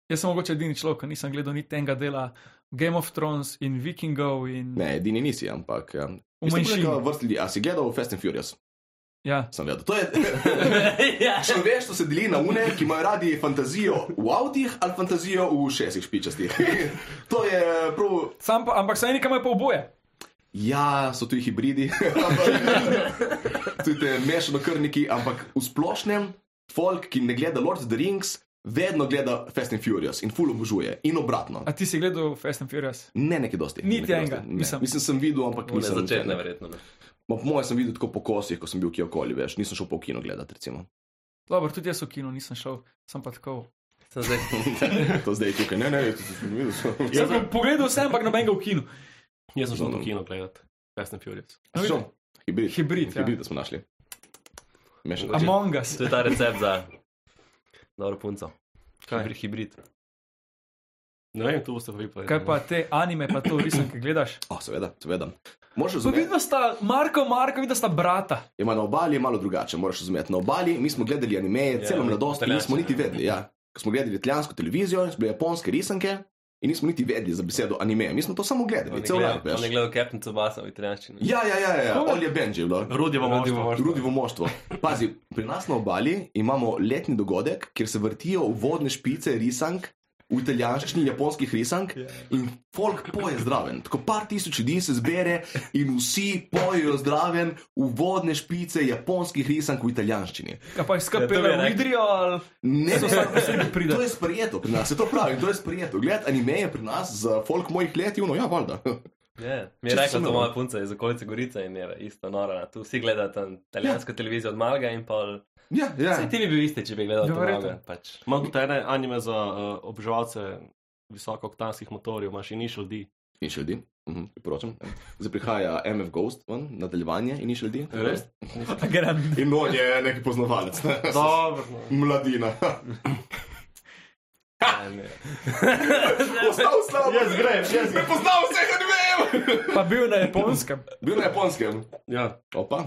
D: Jaz sem mogoče edini človek, ki nisem gledal niti enega dela Game of Thrones in Vikingov. In...
A: Ne, edini nisi, ampak. Ja.
D: V manjšini.
A: Vrstli, a si gledal Fast and Furious?
D: Ja.
A: Sem gledal. To je.
C: Ja.
A: Človeštvo se deli na une, ki imajo radi fantazijo v avtih ali fantazijo v šestih špičastih. to je prav
D: Sam pa, ampak saj nekaj imajo pa oboje.
A: Ja, so tu hibridi, tudi te mešanokrniki, ampak v splošnem folk, ki ne gleda Lord of the Rings, vedno gleda Fast and Furious in full obožuje in obratno.
D: A ti si gledal Fast and Furious?
A: Ne, nekaj dosti.
D: Niti
A: nekaj dosti,
D: enega,
A: ne.
D: mislim.
A: Mislim, sem videl, ampak
C: Ne
A: nisem
C: začetne, verjetno. Ne.
A: Ma Po mojem sem videl tako po kosih, ko sem bil kje okoli, veš, nisem šel po kino gledati, recimo.
D: Dobro, tudi jaz v kino nisem šel, sem pa tako.
C: Sem zdaj,
A: To zdaj je tukaj, ne, ne, to sem videl.
C: Ja.
D: Jaz sem pogledal vse, ampak nobenega v kinu.
E: Jaz sem šel na kino gledati, Fast and Furious.
A: Ja, šel. Hibrid.
D: No, Hibrid, ja.
A: Hibrid, da smo našli. Mešan.
D: Among Us.
C: to je ta recept za dobro punco.
E: Kaj?
C: Hibrid, hibrid.
E: Ne vem, tu boste pa vi povedali.
D: Kaj pa te anime, pa to risanke gledaš?
A: Oh, seveda, seveda. Moraš
D: Pa
A: razumeti.
D: vidva sta, Marko, Marko, vidva sta brata.
A: Je na obali je malo drugače, moraš razumeti. Na obali mi smo gledali anime,
C: Ja,
A: ja, celo mladost, in
C: italijanske,
A: nismo niti
C: ja.
A: vedeli. Ja. Ko smo gledali italijansko televizijo, so bile japonske risanke in nismo niti vedeli za besedo anime. Mi smo to samo
C: On
A: gledali,
C: je
A: celo
C: gledal-
A: lepo.
C: on je gledal Captain Tsubasa v italijanščini.
A: Ja, ja, ja, ja, ja. olje Benji je bilo.
E: Rudjevo moštvo.
D: Pač
A: Rudivo moštvo. Pazi, pri nas na obali imamo letni dogodek, kjer se vrtijo vodne špice risank. V italijanščini, japonskih risank
D: Ja.
A: in folk poje zraven. Tako par tisoč ljudi se zbere in vsi pojejo zraven uvodne špice japonskih risank v italijanščini.
D: Kaj pa jih
C: Ja, to
D: skupaj
C: bi
D: peljejo v
C: rekel.
D: Idrijo ali
A: Ne,
D: so vsak posebej pride.
A: To je sprijeto pri nas, se to pravi, to je sprijeto. Gled, anime je pri nas za folk mojih let, juno, ja, valjda.
C: Yeah. Ja. Mi je
A: Čisto
C: rekla, da
A: sumljivo.
C: moja punca iz okolice Gorice in je isto nora. Tu vsi gledata italijansko ja. televizijo od malega in pol.
A: Ja, ja.
C: Saj ti bi bil isti, če bi gledal to
D: Verjetno.
C: malega. Pač.
E: Imam tudi ene anime za uh, obžalce visoko oktanskih eh, motorjev, imaš in išel di.
A: in še ljudi. Mhm, priporočam. Zdaj prihaja MF Ghost, ven, nadaljevanje in ni še ljudi.
E: Res?
D: Grem.
A: In on je neki poznavalec, ne?
E: Dobro. no.
A: mladina.
C: Ne,
A: Postal slab,
E: Jaz grem, jaz grem.
A: Prepoznal vse, kar vem.
D: Pa bil na japonskem.
A: Bil na japonskem.
E: Ja,
A: Opa.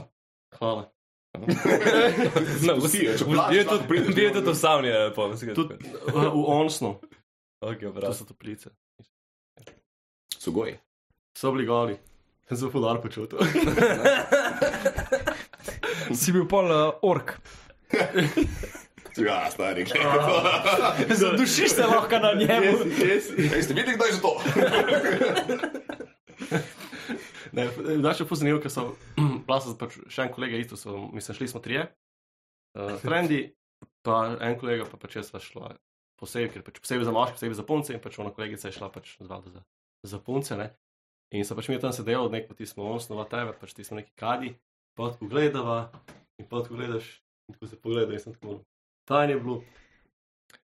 E: hvala.
A: Ne, vsi, če plačeš,
C: Je tudi-
A: prideš,
C: je tudi v savni, je pomemben.
E: Tudi uh, v Onsnu,
C: Okay,
E: to
C: prav.
E: so toplice.
A: So goji.
E: So bili goli. Sem se podar počutil.
D: Si bil pol uh, ork.
A: Ja, stari, gledaj.
D: Zadušiš se lahko na njemu.
A: Ej, ste videli, kdo je za to?
E: Ne, eh, Naše poznejo, ker so, plasa pač še en kolega, isto so, mislim, šli smo trije, uh, trendi, pa en kolega, pa pač jaz sva šla posebej, ker pač posebej za moške, posebej za punce in pač ona kolegica je šla pač zvala za, za punce, ne. In so pač mi tam sedeli, nek pa ti smo osnova tebe, pač ti smo neki kadi, pa tako gledava in pa tako gledaš in tako se pogledaš in sem tako, tajn je bilo.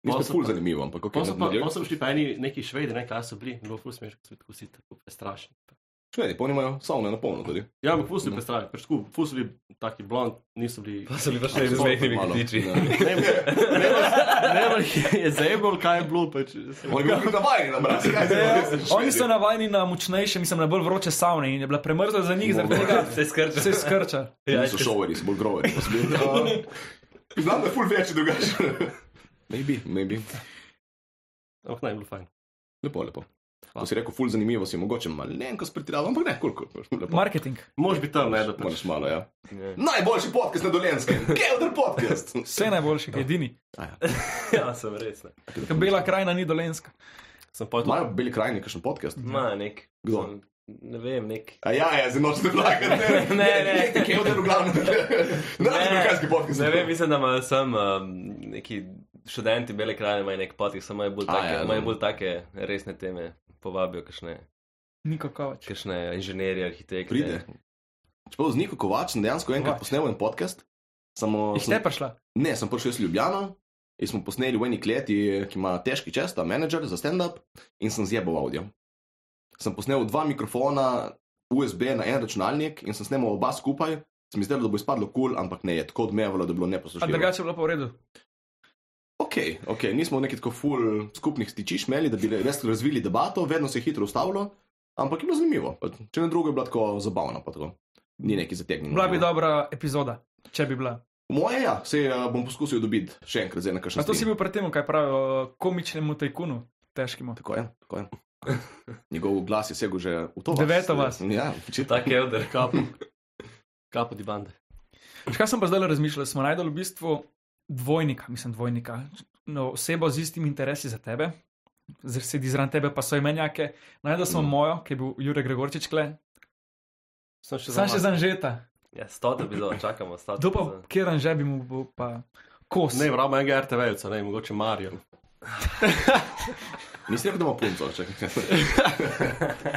A: Mi smo
E: Pol so
A: ful
E: pa-
A: zanimivo, ampak kako
E: Pa so, pa, pa so šli pa eni neki švedi, ne, kaj so bili, bilo ful smešno, ko so bili tako vsi tako strašni.
A: Švedi, ponimajo, savne na polno tudi.
E: Ja, ampak ful so bili prestrašni, pač tako, ful so bili taki blond, niso bili.
C: Pa so bili pa še z mehnimi
A: Malo.
C: kitiči.
A: Ja.
E: Ne, ne, ne, ne, je zebol, kaj je bilo, pač.
A: Oni bi bili navajeni na mraz. kaj zdaj, Švedi.
D: Oni so navajeni na močnejše, mislim, na bolj vroče savne in je bila premrzla za njih, zaradi tega
C: Se skrča.
D: se skrča.
A: Ja, so šoveri, so bolj groveri. pa so bili, ja. Znam, da ful več drugače. Maybe, maybe.
E: Oh, ne, je bilo fajn.
A: Lepo, lepo. Ko si rekel, ful zanimivo si, mogoče malenko spretiravam, ampak ne, koliko. Lepo.
D: Marketing.
E: Mož bi tam, ne, da pač.
A: Moraš malo, ja. Najboljši podcast na dolenskem, Kevdr podcast.
D: Vse najboljši, edini.
C: Ja, sem res. Ne.
D: Ker bela krajina ni dolenska.
C: Sem pa tudi.
A: Imajo bili krajni kakšen podcast?
C: Ma, nek.
A: Kdo?
C: sem- Ne vem, nek.
A: A ja, ja, zdaj nočete vlagati.
C: Ne, ne.
A: Kevdr v glavnem. Ne, ne, krajski podcast.
C: Ne vem, mislim, da imajo sem um, neki študenti bele krajine, imajo nek potik, samo imajo bolj,
A: A,
C: take-
A: ja,
C: imajo
A: no.
C: bolj take resne teme, povabijo kakšne,
D: Niko Kovač.
C: kakšne inženirje, arhitekte.
A: Pride. Čeprav z Niko Kovačem dejansko enkrat
D: Kovač.
A: posnel en podcast. Samo
D: Iš
A: sem-
D: te prišla.
A: Ne, sem prišel iz Ljubljana in smo posneli v eni kleti, ki ima težki čest, ta menedžer za stand-up in sem zjebal avdio. Sem posnel dva mikrofona, USB na en računalnik in sem snemal oba skupaj. Se mi zdelo, da bo izpadlo kul, cool, ampak ne je tako odmevalo, da je bilo
D: A
A: neposlušljivo.
D: drugače je bilo pa v redu.
A: Ok, ok, nismo neki tako full skupnih stičiš imeli, da bi re- res razvili debato, vedno se je hitro ustavilo, ampak je bilo zanimivo. Pa Če ne drugo, je bilo tako zabavno, pa tako. Ni neki zategnjen.
D: Bila bi dobra epizoda, če bi bila.
A: Moje, ja, se bom poskusil dobiti še enkrat, zdaj na kakšen
D: A to si
A: stream.
D: bil pred tem, kaj pravijo, komičnemu tajkunu, težkemu.
A: Tako je, tako je. Njegov glas je segel že v to. vas.
D: Deveto vas.
A: Ja, očitno.
C: Tak je odr.
E: Kapo. Kapo di bande.
D: Veš, Kaj sem pa zdaj razmišljal? Smo najdel v bistvu dvojnika, mislim, dvojnika. No, osebo z istimi interesi za tebe, zdaj sedi zraven tebe, pa so imenjake. Najdel smo mojo, ki je bil Jurek Gregorčič, kle.
E: Sem še
D: Sam še zanžeta.
C: Ja, stota bi bilo, čakamo, stota.
D: Kdo pa, kjer anže bi mu bil pa kos?
E: Ne, vramo enega RTV-ca, ne, mogoče Marijo.
A: Nisi rekel, da ima punco, čakaj.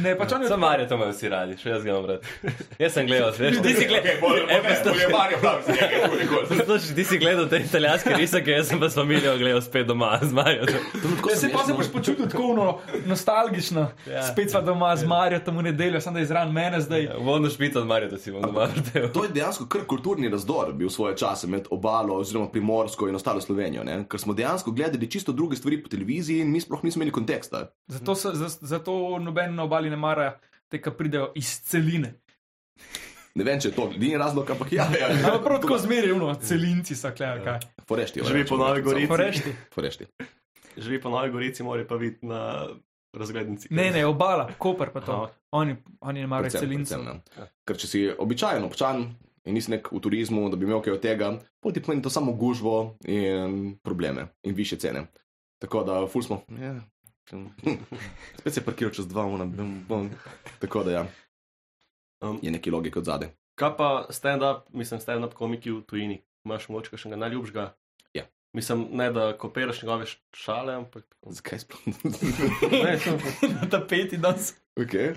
D: ne pač on je
C: Sam Marijo to imajo vsi radi, še jaz ga imam rad. Jaz sem gledal, veš, ti si gledal.
A: Poljebarje pravi, da je nekaj.
C: Slušaj, ti si gledal te italijanske risake, jaz sem pa s familijo gledal spet doma z Marijo.
D: Ja, se pa se boš počutil tako no, nostalgično. Ja,
C: Ja.
D: Spet smo doma z Marijo tam v nedeljo, sem da izran mene zdaj. Ja.
C: Vodno špito od Marijo, da si bom doma vrtel.
A: To je dejansko kar kulturni razdor bil svoje čase med obalo oziroma primorsko in ostalo Slovenijo, ne? ker smo dejansko gledali čisto druge stvari po televiziji in mi sploh nismo imeli konteksta.
D: Zato, so, za, zato noben na obali ne mara te, ki pridejo iz celine.
A: Ne vem, če je to edini razlog, ampak ja, ja.
D: Ampak prav tako zmerjeno, celinci so klej, kaj.
A: Forešti.
E: Živi po Novi Gorici.
D: Porešti.
A: Forešti.
E: Živi po Novi Gorici, mora pa videti na razglednici.
D: Ne, ne, obala, Koper pa to.
E: Aha.
D: Oni, oni ne marajo
A: Predvsem,
D: celincev.
A: predvsem, ne. Ker če si običajen občan in nisi nek v turizmu, da bi imel kaj od tega, poti pomeni to samo gužvo in probleme in više cene. Tako da, ful smo. Ja. Spet se je parkiral čez dva, ona bom bom. Tako da, ja.
E: Um,
A: Je neki logik od zadaj.
E: Kaj pa stand-up, mislim, stand-up komiki v tujini? Imaš moč, še ga najljubšega?
A: Ja.
E: Mislim, ne da kopiraš njegove š- šale, ampak.
A: Zakaj sploh?
E: Ne, sem-
D: Na tapeti danes.
A: okay.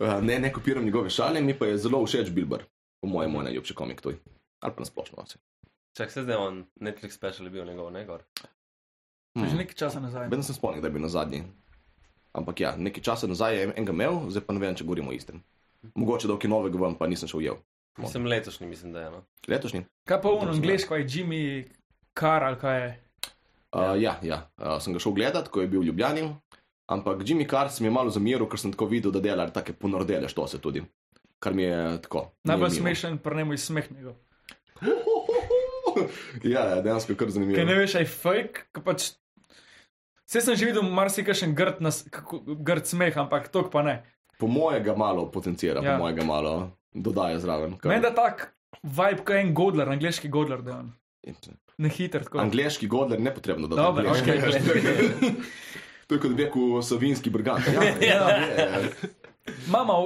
A: uh, ne, ne kopiram njegove šale, mi pa je zelo všeč Bilbar, po mojem, moj najljubši komik tuj. Ali pa nasplošno.
C: Čak se zdaj on, Netflix special je bil njegov, ne gor.
D: Že nekaj časa nazaj.
A: Vedno sem spomnil, da je bil na zadnji. Ampak ja, nekaj časa nazaj je enega imel, zdaj pa ne vem, če govorimo o istem. Mogoče da okej novega ven, pa nisem še ujel.
C: Mislim, letošnji, mislim, da je. No.
A: Letošnji? Eh,
D: Kaj pa v angliško je Jimmy Carr ali kaj je?
A: Uh, ja, ja. Uh, sem ga šel gledat, ko je bil v Ljubljani. Ampak Jimmy Carr se mi je malo zameril, ker sem tako videl, da dela take ponordele štose tudi. Kar mi je tako. ni
D: Najbolj
A: milo.
D: smešen, pa ne mu je smeh njegov.
A: Ja, ja, dejansko je kar zanimivo.
D: Ker ne veš, aj fake, ko pač. Vse sem že videl marsikajšen grd, nas, kako- grd smeh, ampak tok pa ne.
A: Po mojega malo potencira, ja.
D: Ja.
A: po mojega malo dodaja zraven. kar-
D: Meni da tak vibe, kot je en Godler, angliški Godler, da je on. Ne hiter tako.
A: Angliški godler ne potrebno, da
D: Dobro,
A: angleški.
D: okej, glej.
A: To je kot bi rekel savinski brigant. Ja, ja, ja.
D: Mama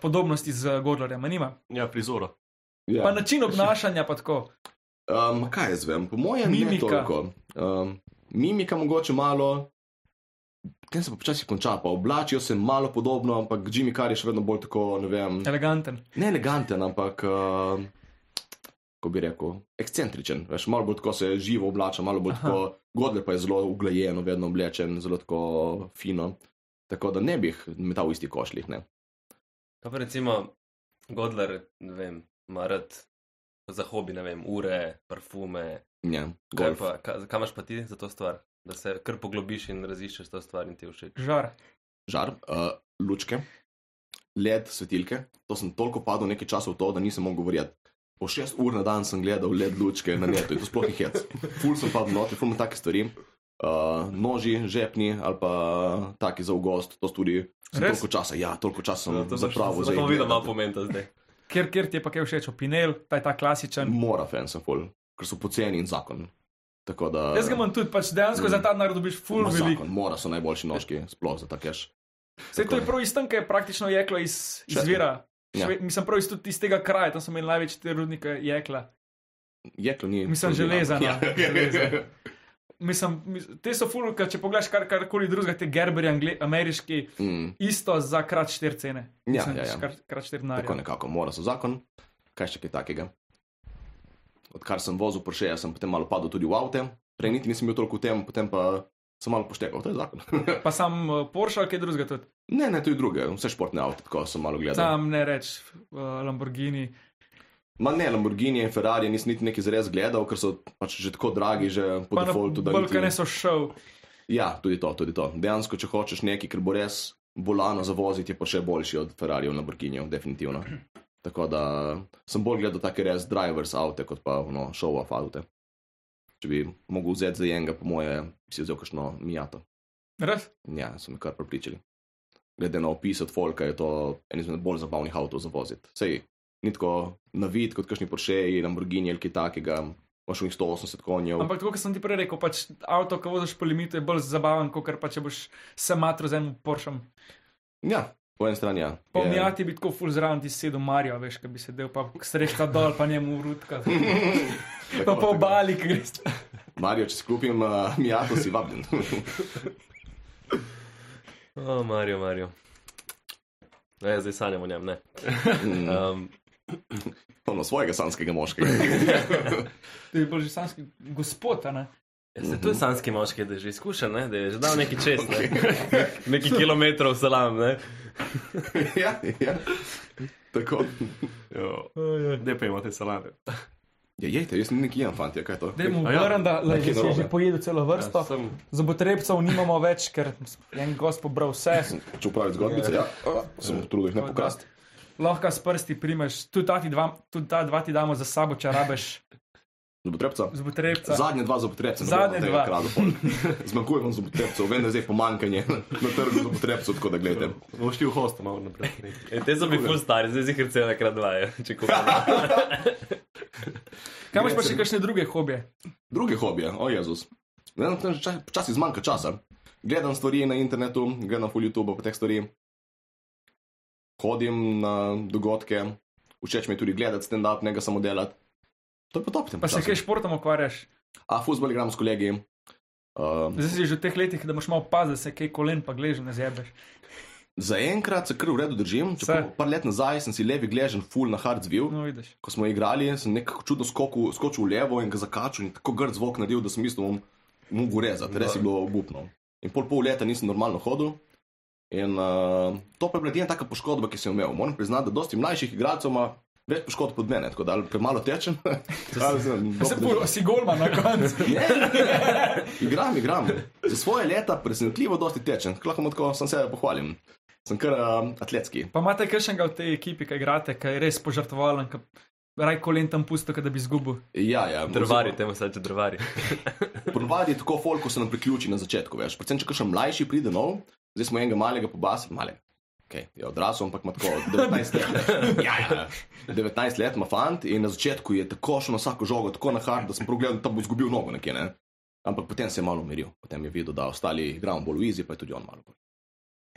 D: podobnosti z Godlerjem, a nima.
E: Ja, prizora.
A: ja.
D: Pa način obnašanja pa tako.
A: Um, kaj jaz vem, po mojem, ne
D: Mimika.
A: toliko. Um, mimika mogoče malo, kaj se pa počasi konča, pa oblačijo se malo podobno, ampak Jimmy Carr je še vedno bolj tako, ne vem,
D: Eleganten.
A: ne eleganten, ampak, um, ko bi rekel, ekscentričen. Veš, malo bolj tako se živo oblača, malo bolj
D: Aha.
A: tako, Godler pa je zelo uglajeno, vedno oblečen, zelo tako fino. Tako da ne bi jih metal v isti košlih, ne.
C: Kaj pa recimo Godler, ne vem, marat za hobi, ne vem, ure, parfume.
A: Ja,
C: Kaj,
A: golf.
C: pa, kaj, kaj imaš pa ti za to stvar? Da se kar poglobiš in raziščeš to stvar in ti je všeč.
D: Žar.
A: žar, uh, lučke, led, svetilke. To sem toliko padel nekaj časa v to, da nisem mogel govoriti. Po šest ur na dan sem gledal led lučke na netu in to sploh ni hec. Ful sem padel noter, ful me take stvari. Uh, noži, žepni ali pa taki za ugost, to tudi. sem
D: Res?
A: Toliko časa, ja, toliko časa sem
C: Zato
A: zapravil za
C: Zato
A: jih
C: vidim, ima
A: gledati.
C: pomenta zdaj.
D: Ker, ker ti je pa kaj všeč, opinel, ta je ta klasičen.
A: Mora fan sem ful, ker so poceni in zakon. Tako da.
D: Jaz ga imam tudi, pač dejansko za ta denar dobiš full
A: Ma
D: veliko.
A: zakon, mora so najboljši nožki, sploh za takeš.
D: Vse to je prav iz tam, ker je praktično jeklo iz
A: Še-
D: izvira.
A: Ja.
D: Ja. Mislim, prav iz, tudi iz tega kraja, tam so imeli največ te rudnike jekla.
A: Jeklo ni.
D: Mislim, železa.
A: Ja.
D: Ja. železa. Mislim, mis- te so fulka, če pogledaš kar, karkoli drugega, te gerberi, angli, ameriški,
A: Mm.
D: isto za krat štiri cene.
A: Ja,
D: Mislim,
A: ja, ja.
D: Krat, krat štiri
A: Tako
D: denarja.
A: nekako, mora so zakon, kaj še kaj takega. Odkar sem vozil Porscheja, sem potem malo padel tudi v avte, prej niti nisem bil toliko v tem, potem pa sem malo poštekal, to je zakon.
D: Pa sam uh, Porsche ali kaj drugega tudi.
A: ne, ne, to je druge, vse športne avte, tako sem malo gledal.
D: Sam ne reč uh, Lamborghini.
A: Ma ne, Lamborghini in Ferrari nisem niti neki zares gledal, ker so pač že tako dragi, že po
D: Pa na
A: defaultu. da niti-
D: Balkane so šel.
A: Ja, tudi to, tudi to. Dejansko, če hočeš nekaj, ker bo res bolano za voziti, je pa še boljši od Ferrarijev na Burginju, definitivno. Tako da sem bolj gledal take res drivers avte, kot pa no, show off avte. Če bi mogel vzeti za enega, po moje, bi si vzel kakšno mijato.
D: Res?
A: Ja, so me kar pripričali. Glede na opis od Folka je to en izmed bolj zabavnih avtov za voziti. Sej, ni tako na vid kot kakšni Porsche, Lamborghini ali kaj takega, imaš v njih 180 konjev.
D: Ampak tako, kot sem ti prej rekel, pač avto, ko voziš po limitu, je bolj zabaven, kot pa če boš se matro z enim Porschem.
A: Ja, po eni strani ja. Je-
D: Pomijati bi tako full zraven ti sedel Marijo, veš, ki bi sedel pa srečka dol, pa njemu urutka. pa
A: Tako,
D: po
A: tako.
D: obali, ki greš.
A: Marijo, če si kupim, uh, mi jato si vabljen.
C: O, Marijo, Marijo. Ne, ja, zdaj sanjamo o njem, ne.
A: Ja.
C: Um,
A: Polno svojega sanskega moškega.
D: Ti je bolj že sanski gospod, a ne?
C: Se
A: Mhm.
C: tu ja, je sanski moški, da je že izkušen, ne? da je že dal nekaj čez, ne? nekaj kilometrov salam. Ne?
A: ja, ja. Tako.
E: Ne pa imate salame.
A: Ja, jejte, jaz nikjer imam fantje, kaj je to?
D: Daj mu
E: A ja,
D: vrn, da le,
A: nekaj
D: že si
A: narobe.
D: že pojedel celo vrsto.
E: Ja, sem-
D: Zobotrebcev nimamo več, ker je en gost pobral vse.
A: Če upravim zgodbice, ja. A, Sem trudil jih ne pokrasti.
D: Lahko s prsti primeš, tudi ta, ti dva, tudi ta dva ti damo za sabo, če rabeš
A: Zobotrebca.
D: zobotrebca.
A: Zadnje dva zobotrebca. ne
D: Zadnje
A: bom tega
D: dva.
A: kradel pol. Zmanjkuje vam zobotrebcev, vem, da je zdaj pomankanje na trgu zobotrebcev, tako da gledajte.
E: Boš ti v hostu malo naprej.
C: E, te so bili ful stari, zdaj jih recimo nekrat dvajo. Če kupim.
D: Kaj imaš pa še kakšne druge hobije?
A: Druge hobije, o Jezus. Vem, da ča- Počasi zmanjka časa. Gledam stvari na internetu, gledam po YouTubu po teh stvari, hodim na dogodke, všeč mi je tudi gledati stand-up, ne ga samo delati. To je pa top, tem
D: Pa se kaj
A: času.
D: športom ukvarjaš?
A: A fuzbol igram s kolegi. Uh,
D: Zdaj si že v teh letih, da moš malo paziti, da se kaj kolen pa gležen ne zjebeš.
A: Zaenkrat se kar v redu držim.
D: Saj.
A: Čeprav par let nazaj sem si levi gležen full na hard zvil.
D: No, vidiš.
A: Ko smo igrali, sem nekako čudno skoku, skočil v levo in ga zakačil in tako grd zvok naredil, da sem mislil, da bom mogel rezati, res je bilo obupno. in pol pol leta nisem normalno hodil. In uh, to pa je bila edina taka poškodba, ki sem jo imel. Moram priznati, da dosti mlajših igralcev ima več poškodb od mene, tako da ali premalo tečem. ali sem
D: Se
A: dobro
D: bo, si golman na koncu.
A: Ne, igram, igram. Za svoje leta presenetljivo dosti tečen, lahko mu tako sam sebe pohvalim. Sem kar uh, atletski.
D: Pa imate kakšnega v tej ekipi, ki igrate, ki je res požrtvovalen, ki raj kolen tam pusto, da bi izgubil.
A: Ja, ja,
C: Drvari, temu se reče drvari.
A: Ponovadi je tako folk, ko se nam priključi na začetku, veš. Predvsem, če kakšen mlajši pride nov, zdaj smo enega malega pobasili, malega. Okay, je odrasel, ampak ima tako 19 let. Ja, ja, ja. 19 let ima fant in na začetku je tako šel na vsako žogo, tako na hard, da sem progledal, da bo izgubil nogo nekje. Ne? Ampak potem se je malo umiril, potem je videl, da ostali igramo bolj v izi, pa je tudi on malo bolj.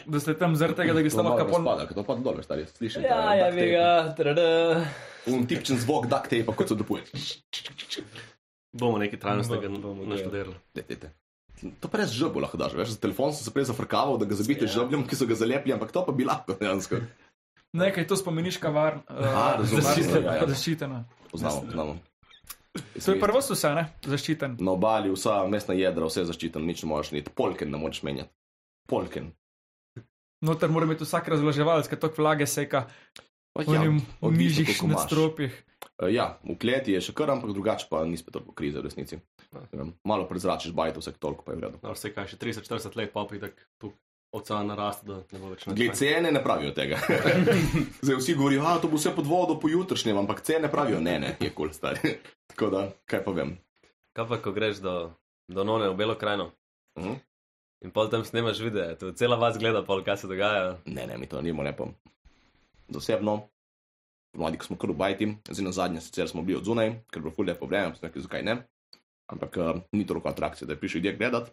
D: Da ste tam zaradi tega, da bi slabo kapon.
A: Spada, ker to pa dobro, stari, slišiš.
C: Ja, ja, bi ga, trada.
A: Un tipčen zvok duct tape, kot se dopuje.
E: Bomo nekaj trajnostnega
C: Bo- bomo
E: naštudirali.
A: To pa res žebo lahko daš, veš, za telefon sem se prej zafrkaval, da ga zabite ja. žebljem, ki so ga zalepili, ampak to pa bi lahko dejansko.
D: Nekaj, to spomeniška var, uh,
A: Aha, razumem. Ja, ja.
D: zaščitena.
A: Poznamo, poznamo.
D: To je prvo so vse, ne? Zaščiten.
A: Na obali vsa mestna jedra, vse zaščiteno, nič ne moreš niti, polken ne moreš menjati. Polken.
D: Noter mora imeti vsak razloževalec, ker tok vlage seka
A: Pa
D: v njem
A: Ja, odvisno,
D: nižjih
A: koliko imaš.
D: nadstropjih.
A: Eh, Ja, v kleti je še kar, ampak drugače pa nisi spet toliko krize v resnici. Ne vem, Malo prezračiš bajto vsak toliko, pa je vredno.
E: No, vse kaj, še 30-40 let popih, da tu ocean naraste, da ne bo več nič.
A: Glej, cene ne pravijo tega. Zdaj vsi govorijo, da to bo vse pod vodo pojutrišnjem, ampak cene pravijo, ne, ne, je kul cool, star. Tako da, kaj pa vem.
C: Kaj pa, ko greš do, do None v Belo krajino
A: Mhm.
C: in pol tam snemaš videe, tu cela vas gleda, pol kaj se dogaja.
A: Ne, ne, mi to nimo ne pom. Zasebno, mladi, ko smo kar obajti, zdaj na zadnje sicer smo bili od zunaj, ker je bilo ful lepo vreme, smo rekli, zakaj ne. Ampak uh, ni toliko atrakcije, da bi prišli ljudje gledati.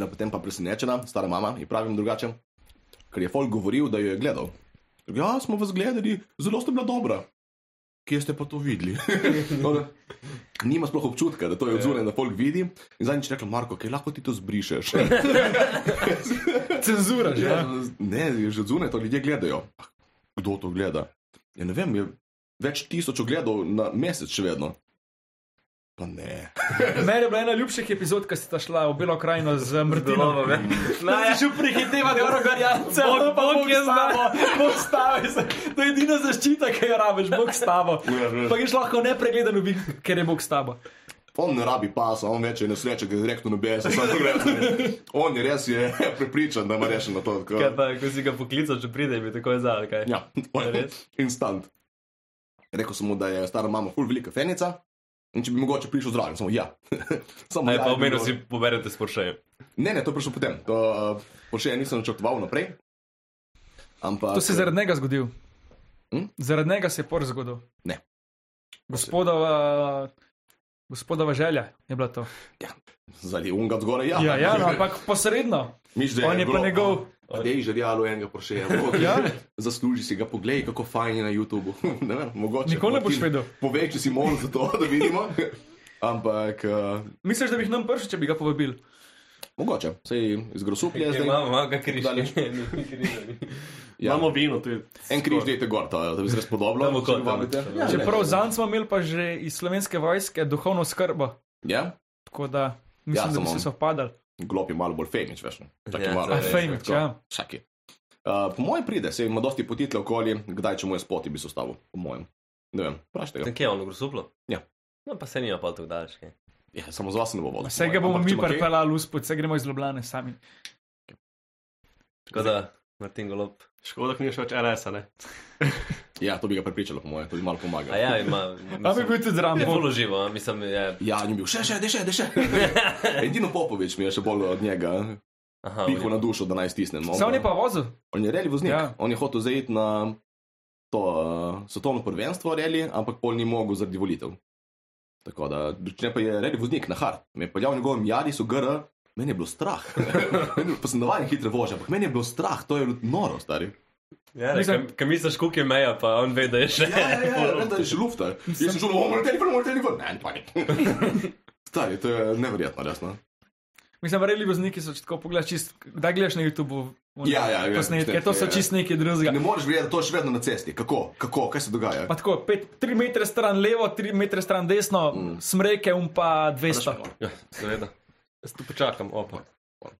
A: No, potem pa presenečena, stara mama, ji pravim drugače, ker je folk govoril, da jo je gledal. Ja, smo vas gledali, zelo ste bila dobra. Kje ste pa to videli? no, da, nima sploh občutka, da to je odzunaj, da folk vidi. In zadnjič je rekel, Marko, kaj lahko ti to zbrišeš?
D: Cenzura, že.
A: Ja,
D: ne?
A: ne, že zunaj to ljudje gledajo. Ah, Kdo to gleda? Ja, ne vem, je več tisoč ogledov na mesec še vedno. Pa ne.
D: Meni je bila ena ljubših epizod, ko ste šla v Belo krajino z mrtvinom.
C: Naj,
D: Že prehiteva Gorgorjanca, on pa Bog je znamo, Bog stavi se. To je edina zaščita, ki jo rabiš, Bog s tabo.
A: Ja,
D: Pa greš lahko nepregleden v bik, ker je Bog s tabo.
A: On ne rabi pasa, on več je nesreče, ki je direktno nebesen, samo gledaj. On je res je prepričan, da ima rešeno to. tako.
C: Kaj pa, ko si ga poklical, če pride, bi takoj zdal, kaj?
A: Ja, to je res. Instant. Rekel sem mu, da je stara mama ful velika fenica. In če bi mogoče prišel zraven, samo ja. samo
C: Aj
A: ja
C: pa
A: je
C: omenil
A: bilo.
C: si, poberete s Porschejem.
A: Ne, ne, to je prišlo potem. To uh, še nisem načrtoval naprej. Ampak,
D: To se je zaradi njega zgodil.
A: Hm?
D: Zaradi njega se je por zgodil.
A: Ne.
D: Gospodova, gospodova želja je bila to.
A: Ja, Zali unga zgoraj, ja.
D: Ja, ja no, ampak posredno.
A: Miš, da
D: On je pa
A: Ja, bilo,
D: njegov.
A: "A, Dej žerjalo enega prošeja.
D: Ja.
A: Zasluži si ga, poglej, kako fajn je na YouTubu. ne vem, mogoče.
D: Nikoli ne boš
A: Martin,
D: vedel.
A: Povej, če si možen za to, da vidimo. Ampak, uh,
D: Misliš, da bi jih nam prišel, če bi ga povabil?
A: mogoče. Sej iz grosuplja
C: Ja,
A: zdaj.
C: imamo, imamo kak križ.
A: Daleč.
E: Ja.
A: Ja.
E: Imamo vino, tu je.
A: En križ dejte gor, to, da bi se res podobno.
C: Tam v kot, tam.
A: Ja,
D: Čeprav
A: ne.
D: zanj smo imeli pa že iz slovenske vojske duhovno skrbo.
A: Ja,
D: Tako da mislim,
A: Ja,
D: da bi
A: samo-
D: se sovpadali.
A: glop je malo bolj femič, veš. no. Čak
C: Ja,
A: je
C: to
A: malo.
D: A
C: je res,
D: fejmič,
A: tako.
D: ja.
A: Čak je. Uh, po mojem pride, se ima dosti potitla okoli, kdaj če mu je spoti bi se ustavil, po mojem. Ne vem, vprašajte ga.
C: Kje je on, grosuplo?
A: Ja.
C: No, pa se nima pa tako daleč, kaj.
A: Ja, samo z vas ne bo vodil.
D: Vse ga bomo mi pripeljali uspod, vse gremo iz Ljubljane sami.
C: Tako da, Martin Golop.
E: Škoda, da nimaš več RS-a, ne?
A: Ja, to bi ga pripričalo, po mojem, to bi malo pomagalo.
C: A ja, ima.
D: A bi bil tudi
C: Je
D: Rambo.
C: bolj živo, mislim, je.
A: Ja, in je bil še, še, de še, de še. Edino Popovič mi je še bolj od njega eh.
C: Aha,
A: pihal na dušo, da naj stisnem.
D: Se on je pa vozil.
A: on je reli voznik.
D: Ja.
A: Ja. On je hotel zaiti na to uh, svetovno prvenstvo reli, ampak pol ni mogel zaradi volitev. Tako da, če pa je reli voznik na hard, me je peljal v njegovem jarisu GR, meni je bilo strah. Meni je bilo- pa sem navaden hitre vožnje, ampak meni je bilo strah, to je bilo noro, stari.
C: Ja,
D: Mislim-
C: Kaj misliš, kuk je meja, pa on ve, da je še.
A: Ja, ja, ja, ja, da je še lufta. Jaz sem šel, bomo leteli, bomo leteli, ne, ne, panik. Stari, to je neverjetno, no. resno.
D: Mislim, reli vozniki so če tako pogledali čist. Kdaj gledaš na YouTube?
A: Ja, ja, ja,
D: Posnetke,
A: posnetke,
D: to so
A: ja.
D: čist neki drugega.
A: Ne moreš verjeti, da to je še vedno na cesti. Kako, kako, kaj se dogaja?
D: Pa tako, 3 metre stran levo, 3 metre stran desno, mm. smreke um pa 200.
C: Ja, seveda.
E: Jaz tu počakam, opa.
A: no.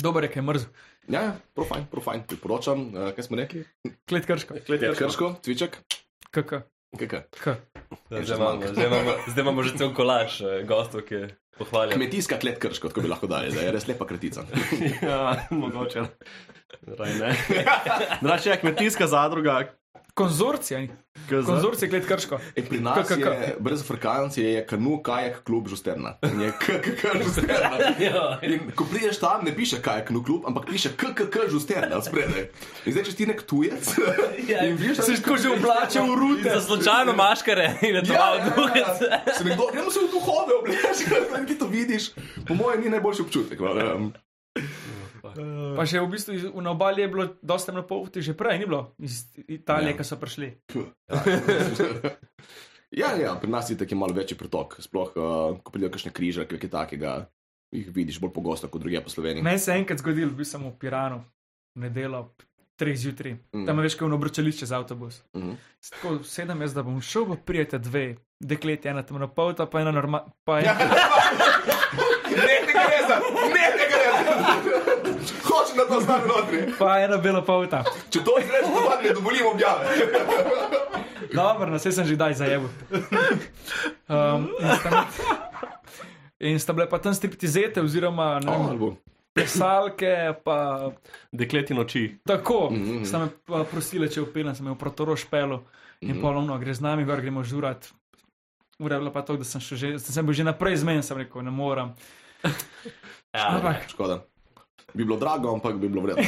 D: Dober je, kaj je mrzel.
A: Ja, ja, profajn, profajn, priporočam. Uh, kaj smo rekli?
D: Klet krško.
A: Ja, krško, cviček,
D: KK.
A: kaj.
D: K.
C: Ja, Zdaj imamo, zdaj imamo, zdaj imamo že cel kolaž eh, gostov, ki je pohvaljen.
A: Kmetijska klet krško, tako bi lahko dali, da je res lepa kratica.
E: Ja, mogoče. Raj ne. Drače je kmetijska zadruga.
D: Konzorcija. ni?
E: KZ.
D: Konzorcija klet krško.
A: E, pri nas
D: KKK.
A: je brez Afrikancije je kanu, kajak, klub žusterna. In Je KKK žusterna.
C: Ja,
A: In ko prideš tam, ne piše kajak, nu klub, ampak piše KKK žusterna spredaj. In zdaj, če si ti nek tujec, in vidiš, da si
D: Ko že oblače v rute.
C: Za slučajno maškare in da to malo duhate.
A: Ja, Se mi kdo, gremo se v duhove, obleči, kaj ti to vidiš. Po mojem, ni najboljši občutek. no, ne vem. Mm.
D: Pa še v bistvu iz- na obali je bilo dosta na poti, že prej ni bilo iz Italije,
A: Ja.
D: ja. ki so prišli.
A: Ja, ja, pri nas je tako malo večji pretok, sploh uh, ko pridejo kakšne križe, kaj je takega, jih vidiš bolj pogosto kot druge po Sloveniji.
D: Meni se je enkrat zgodilo, bil sem v Piranu, v nedeljo ob 3 zjutraj,
A: Mm.
D: mm. tam je veš, kaj je v obročališče za avtobus.
A: Mhm.
D: S Tako sedem jaz, da bom šel, pa prijete dve, dekleti, ena temna polta, pa ena normalna. Pa ena...
A: Ne, ne gre za, ne, ne gre za. Hočem, da to znaš notri.
D: Pa ena bela polta.
A: Če to izrečeš, pa ne dovolim objave.
D: Dobro, no, saj sem že kdaj zajebil. Um, in, sta, in sta bile pa tam striptizete, oziroma ne
A: Oh.
D: vem, plesalke, pa
E: Dekleti noči.
D: Tako, mm
A: Mhm.
D: -hmm. sem prosila, če opilem, sem imel protoro špelo in mm
A: Mhm.
D: -hmm. ponovno gre z nami, gor gremo žurat. Urejala pa to, da sem, še že, da sem bil že naprej zmeden, sem rekel, ne morem.
A: Ja.
D: Ampak
A: Škoda. Bi bilo drago, ampak bi bilo vredno.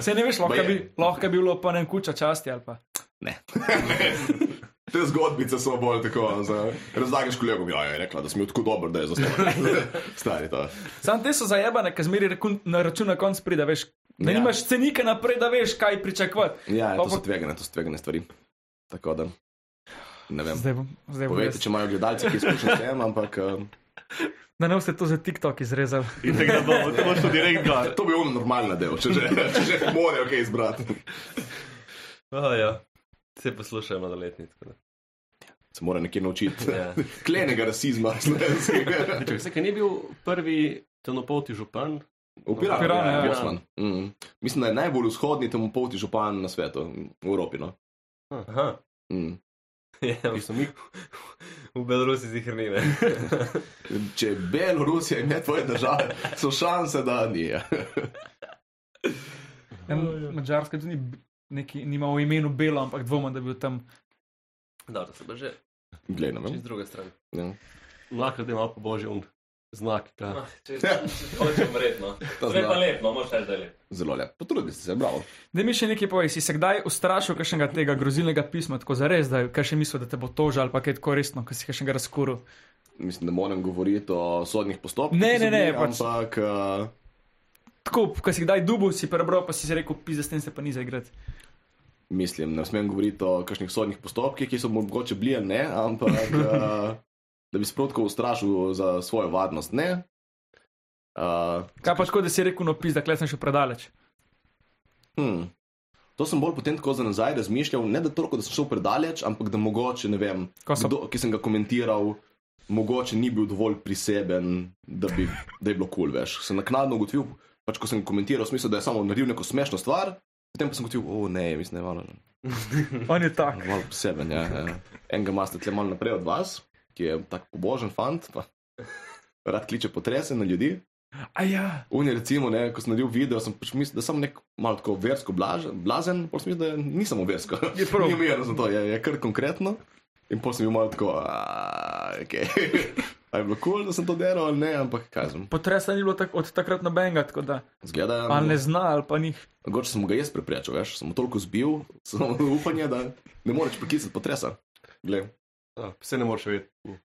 D: se ne veš, lahko
A: Baje.
D: bi, lahko bi bilo pa ne vem, kuča časti ali pa.
A: Ne. Te zgodbice so bolj tako, za- razlagaš kolegom, ja, je rekla, da sem bil tako dober, da je zastavljen. Stari to.
D: Sam te so zajebane, ker zmeri rakun, na račun na konc pride, veš. Da
A: Ja.
D: ja. nimaš cenika naprej, da veš, kaj pričakovati.
A: Ja,
D: Pa
A: to so
D: pa-
A: tvegane, to so tvegane stvari. Tako da, ne vem.
D: Zdaj bom, zdaj bom.
A: Povejte,
D: Jaz,
A: če imajo gledalci, ki izkušnje s tem, ampak um,
D: da ne boste to za TikTok izrezali.
E: In tako da bomo, to boš tudi direkt gor.
A: to bi bilo normalno delo, če že, če že morajo kaj izbrati.
C: Oh, ja. Se poslušajo mladoletni. tako da.
A: Se mora nekje naučiti
C: Ja.
A: klenega rasizma slovenskega.
E: Čak, se, kaj ni bil prvi tenopolti župan?
A: V Piranu,
D: Piran,
A: ja,
D: ja.
A: Bosman. Mm. Mislim, da je najbolj vzhodni temu polti župan na svetu, v Evropi. No?
C: Aha.
A: Mm.
C: Ja,
E: Ki so mi
C: v Belorusi zihrni. ne.
A: Če je Belorusija ime tvoje države, so šanse, da ni.
D: Ja, Mačarska tudi ni, neki, nima v imenu belo, ampak dvomim, da bi bil tam.
C: Dobro, se pa že
A: Glej, ne
C: čez
A: vem.
C: druge strani.
A: Ja.
E: lahko da malo pobožje un znak. Ka.
C: Ah, Če
A: Ja.
C: hočem no. vredno.
A: Ta znak.
C: lepno, moraš reči, da je lepo.
A: Zelo lepo. Potrudi si se, bravo.
D: Da mi še nekaj povej, si se kdaj ustrašil kakšnega tega grozilnega pisma, tako za res, da kaj še misliš, da te bo tožil ali pa kaj tako resno, ki si kakšnega razkuril.
A: Mislim, da moram govoriti o sodnih postopkih.
D: Ne,
A: ki so
D: ne, ne,
A: bili,
D: pač-
A: Ampak uh,
D: Tako, ko si kdaj dubu, si prebral, pa si si rekel, pizda, s tem se pa ni zaigrati.
A: mislim, ne smem govoriti o kakšnih sodnih postopkih, ki so mogoče bili, ali ne, ampak uh, da bi sprotko ustrašil za svojo varnost, ne. Uh,
D: Kaj pa tako, da si rekel, no pizda, klej sem še predaleč.
A: Hmm. To sem bolj potem tako za nazaj razmišljal, ne da toliko, da sem šel predaleč, ampak da mogoče, ne vem,
D: Ko so-
A: kdo, ki sem ga komentiral, mogoče ni bil dovolj priseben, da, bi, da je bilo kul cool, več. Sem naknadno ugotovil, pač ko sem komentiral, v smislu, da je samo naredil neko smešno stvar, potem pa sem ugotovil, o ne, mislim, da je malo,
D: On je tak.
A: malo poseben. Ja, ja. Enega imate tle malo naprej od vas, ki je tako pobožen fant, pa rad kliče potresen na ljudi.
D: A ja,
A: Unije, recimo, ne, ko sem naredil video, sem pač mislil, da sem nek malo tako versko blaž- blazen, pa sem mislil, da ni samo versko.
D: Je prav.
A: Ni mirno za to, je, je kar konkretno. In potem sem bil malo tako, ok. A je bilo kul, cool, da sem to delal ali ne, ampak kaj sem.
D: potresa ni bilo tak, od takrat nobenega, tako da.
A: Zgleda,
D: Ali ne zna, ali pa ni.
A: mogoče sem ga jaz preprečil, veš, sem mu toliko zbil, samo upanje, da ne moreš preklicati potresa. Glej.
E: A, Se ne moreš vedeti. Hm.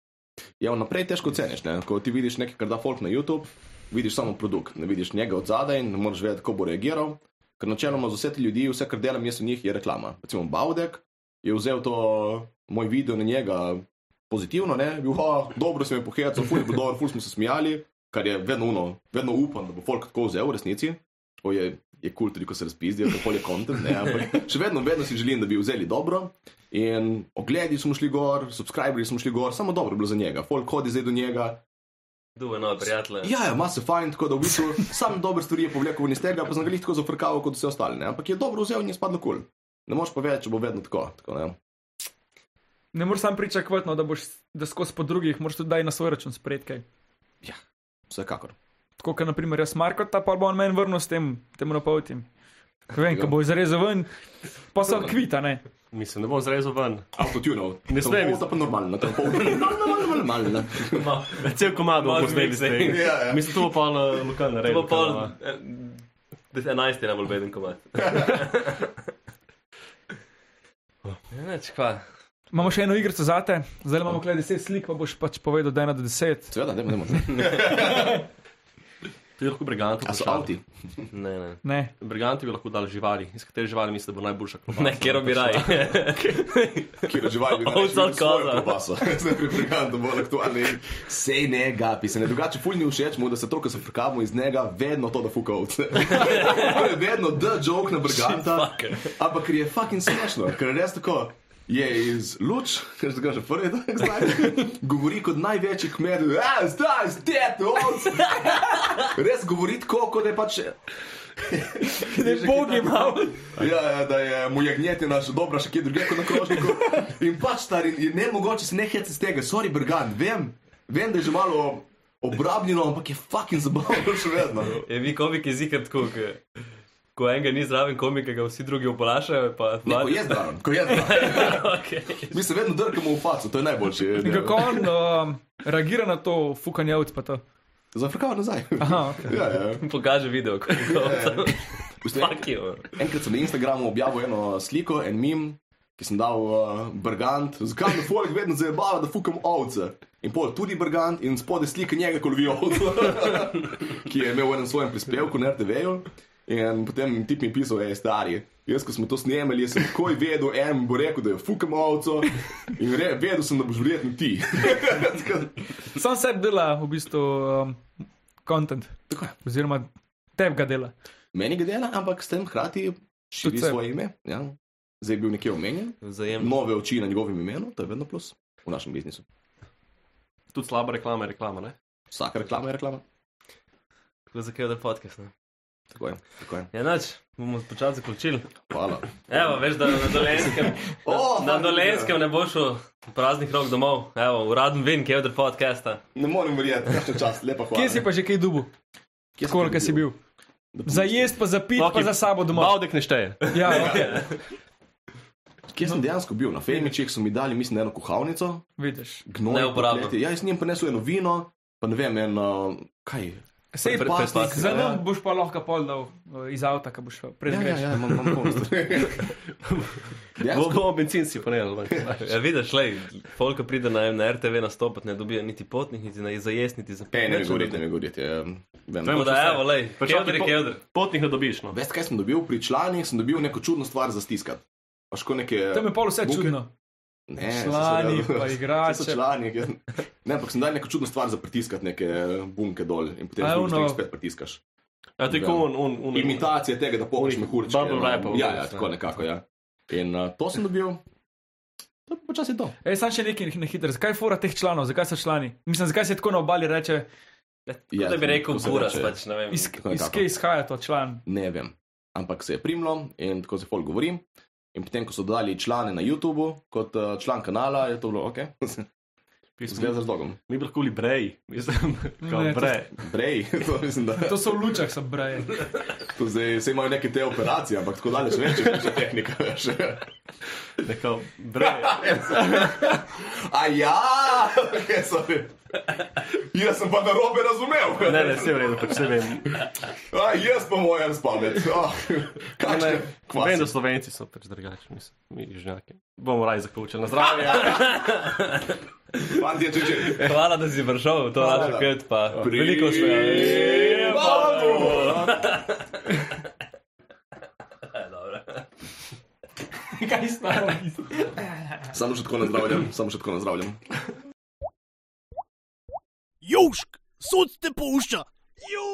A: Ja, vnaprej težko ceniš, ne? ko ti vidiš nekaj, kar da folk na YouTube, vidiš samo produkt, ne vidiš njega od zadaj in ne moreš vedeti, kako bo reagiral. Ker načeloma za vse te ljudi, vse kar delam jaz v njih, je reklama. Recimo Baudek je vzel to moj video na njega pozitivno, ne, bil, ha, dobro sem jim pohecal, ful je bilo dobro, ful smo se smijali, kar je vedno uno, vedno upam, da bo folk tako vzel v resnici. Tako je kul, cool tudi ko se razpizdijo, tako je kontent, ne, ampak še vedno, vedno si želim, da bi vzeli dobro. In ogledi smo šli gor, subscriberji smo šli gor, samo dobro je bilo za njega. Folk hodi zdaj do njega,
C: duve nove no, prijatelje.
A: Ja, ja, ima se fajn, tako da v bistvu sam dobre stvari je povlekel iz tega, pa sem ga lih tako zafrkal kot vse ostale. Ne? Ampak je dobro vzel in je spadlo kul. Cool. Ne moreš pa več, bo vedno tako. tako ne?
D: Ne moreš sam pričakovati, no, da boš da skozi po drugih, moraš tudi daj na svoj račun spred kaj.
A: Vsekakor.
D: Tako kot naprimer jaz Marko, ta pa bo on meni vrnil s tem, tem napovtim. Ko vem, ko bo izrezal ven, pa so kvita, ne.
E: Mislim, ne bom zrezal ven.
A: Avtotunov.
E: Ne smem iz-
A: To pa normalno, to je pol normalno, normalno.
C: Ma,
E: Cel komado
C: Malo
E: bomo zmedli
C: zmiks,
E: z
C: ne.
E: tega.
A: Ja, ja.
E: Mislim, to bo pa na lokalna
C: to
E: reja.
C: bo pol. eh, 11 je najbolj beden komad. Ne, ne, čekaj.
D: Imamo še eno igrico zate, zdaj imamo kle 10 slik, pa boš pač povedal, da je 1 do 10.
A: Sveda, ne moremo.
E: Ti lahko briganti.
A: A so avti?
C: Ne, ne.
D: Ne,
E: Briganti bi lahko dali živali, iz katerih živali mislim, da bo najboljša klobasa.
C: Ne, kjer bi raj.
A: Kjer živali bi
C: Ovca od koza.
A: Paso. Zdaj priprigam, da bo aktualni. Sej ne gapi, se ne drugače ful ni všeč mu, da se to, ko se frkamo iz njega, vedno to, da fuka ovce. to je vedno the joke na briganta.
C: Shit, fucker.
A: Ampak ker je fucking smešno, ker je res tako. Je iz luč, ker se ga že prvi dan zdaj, govori kot največji kmet, "A, zdaj, zdaj, ovce. Res govori tako, kot da je pač
D: ne bog ima.
A: Ja, ja, da je mu jagnjetina še dobra, še kje drugje kot na krožniku. In pač star, in, in ne mogoče se ne hecati z tega, sorry, brigant, vem, vem, da je že malo obrabljeno, ampak je fucking zabavno še vedno.
C: Je vi komik je zikr tako, ko, ko enega ni zraven komika, ga vsi drugi opolašajo, pa
A: Ne, ko je zdrav, ko je zdrav.
C: okay.
A: Mi se vedno drkamo v faco, to je najboljše.
D: In kako on
A: Ja.
D: um, reagira na to fukanje avt, pa to.
A: Zafrkava nazaj.
D: Aha, ok.
A: Ja, ja.
C: Pokaže video, kako je to.
A: V bistvu,
C: Fuck you.
A: Enkrat sem na Instagramu objavil eno sliko, en mim, ki sem dal uh, brgant, zakaj me folk vedno zabava, da fukam ovce. In pol tudi brgant in spode slike njega, ko lovijo ovce, ki je imel v enem svojem prispevku na RTV-ju. In potem tip mi je pisal, je stari. Jaz, ko smo to snemali, jaz sem takoj vedel, en bo rekel, da je fukam ovco in re, vedel sem, da boš verjetno ti. Tako-
D: Sam sebi dela v bistvu um, content. Oziroma, tebi ga dela.
A: Meni ga dela, ampak s tem hkrati širi
D: Tudi sebi.
A: svoje ime. Ja. Zdaj je bil nekje omenjen.
C: Vzajemno.
A: nove oči na njegovem imenu, to je vedno plus v našem biznisu.
E: Tudi slaba reklama je reklama, ne?
A: Vsaka reklama je reklama.
C: Tako zakaj je da podcast, ne?
A: Tako je, tako je.
C: Ja, nač, bomo počasi zaključili.
A: Hvala.
C: Evo, veš, da na dolenskem,
A: O,
C: na
A: fakt,
C: dolenskem ne boš šel praznih rok domov. Evo, uraden vin, kje je od podcasta.
A: Ne morem verjeti, kakšen čas, lepa hvala.
D: Kje si pa že kaj dubu?
A: Kje
D: Skoro, kaj si bil?
A: Da
D: Za jesti, pa za pit,
E: Okej,
D: pa za sabo domov.
E: Bavdek ne šteje.
D: Ja, okay.
A: Kje sem dejansko bil? Na Femičih so mi dali, mislim, eno kuhalnico,
D: vidiš.
A: gnoj.
C: Neuporabno.
A: pokleti. Ja, jaz sem jim prinesel eno vino, pa ne vem, en, uh,
D: Ja,
A: kaj.
D: Sej
A: Pred-
D: pa,
A: predpasnik,
D: za
A: ja.
D: nam boš pa lahko pol dal eh, iz avta, ko boš
A: Ja, ja,
D: prezgreš.
A: ja, imam, imam pomost.
E: Bo,
A: Dejansko,
E: bo bencin si ponehal ven.
C: Ja, vidiš, lej, folka pride na, na RTV nastopati, ne dobijo niti potnih, niti na izajest, niti za
A: ne, ne,
C: nič dobijo.
A: mi gorite, ne, mi eh, gorite.
C: Tako da, evo, lej,
A: Pač
E: Pa
C: kevdr je
E: čakaj, Pač, po-
C: kevdr.
E: Potnih ne dobiš, no.
A: Veste, kaj sem dobil? Pri članih sem dobil neko čudno stvar za stiskati. Paš ko neke...
D: Tam je pol vse
A: Buke.
D: čudno.
A: Ne, saj so
D: Člani,
A: dal-
D: pa
A: saj
D: igrače.
A: So člani, ki- ne, ampak sem dal neko čudno stvar za pritiskati neke eh, bunke dol in potem
D: A,
A: drugi
D: ono-
A: streng spet pritiskaš.
E: Ja, to je
A: Ja.
E: kot on, on, on.
A: Imitacija tega, da pohoš
E: Onih
A: mehurčke.
E: bubble
A: no.
E: wrapov,
A: Ja,
E: veš,
A: ja,
E: ne.
A: tako nekako, ja. In uh, to sem dobil. To je počasi to.
D: Ej, sam še nekaj na hitro. Zakaj je fora teh članov, zakaj so člani? Mislim, zakaj se tako na obali reče,
C: Ja, tako
A: Ja,
C: da bi rekel,
A: tako se
C: buras
A: reče.
C: pač, ne vem.
D: iz,
A: Tako
D: iz
A: nekako.
D: kje izhaja to član?
A: Ne vem. Ampak se je primlo in tako se folk govori. In potem, ko so dodali člane na YouTubu, kot uh, član kanala, je to bilo ok. Zgleda z razlogom.
E: Mi bi lahko bili brej, mislim,
D: Ne,
E: kot
D: to-
E: brej.
A: Brej, to mislim, da
D: To so v lučah, so breje.
A: to zdaj vse imajo neke te operacije, ampak tako dalje še več, še tehnika. Veš.
E: Neka brej.
A: A ja, kaj so vi? Jaz sem pa na robe razumel.
E: Ne, ne, vse je v redu, pač vse vem.
A: A, jaz pa mojem spamet. Oh,
E: Ne,
A: kakšne
E: vem, da
A: kvasne.
E: Slovenci so pač drugačni, mislim, mi južnjaki. Bomo raje zaključili. Na zdravje.
A: Fantje, če če.
C: Hvala, da si prišel, to je
A: Hvala.
C: naš kvet, pa
A: Pri-
C: veliko smo.
A: Bravo!
D: Kaj staro?
A: Samo še tako nazdravljam, samo še tako nazdravljam.
B: Južk, sod te pušča. Južk.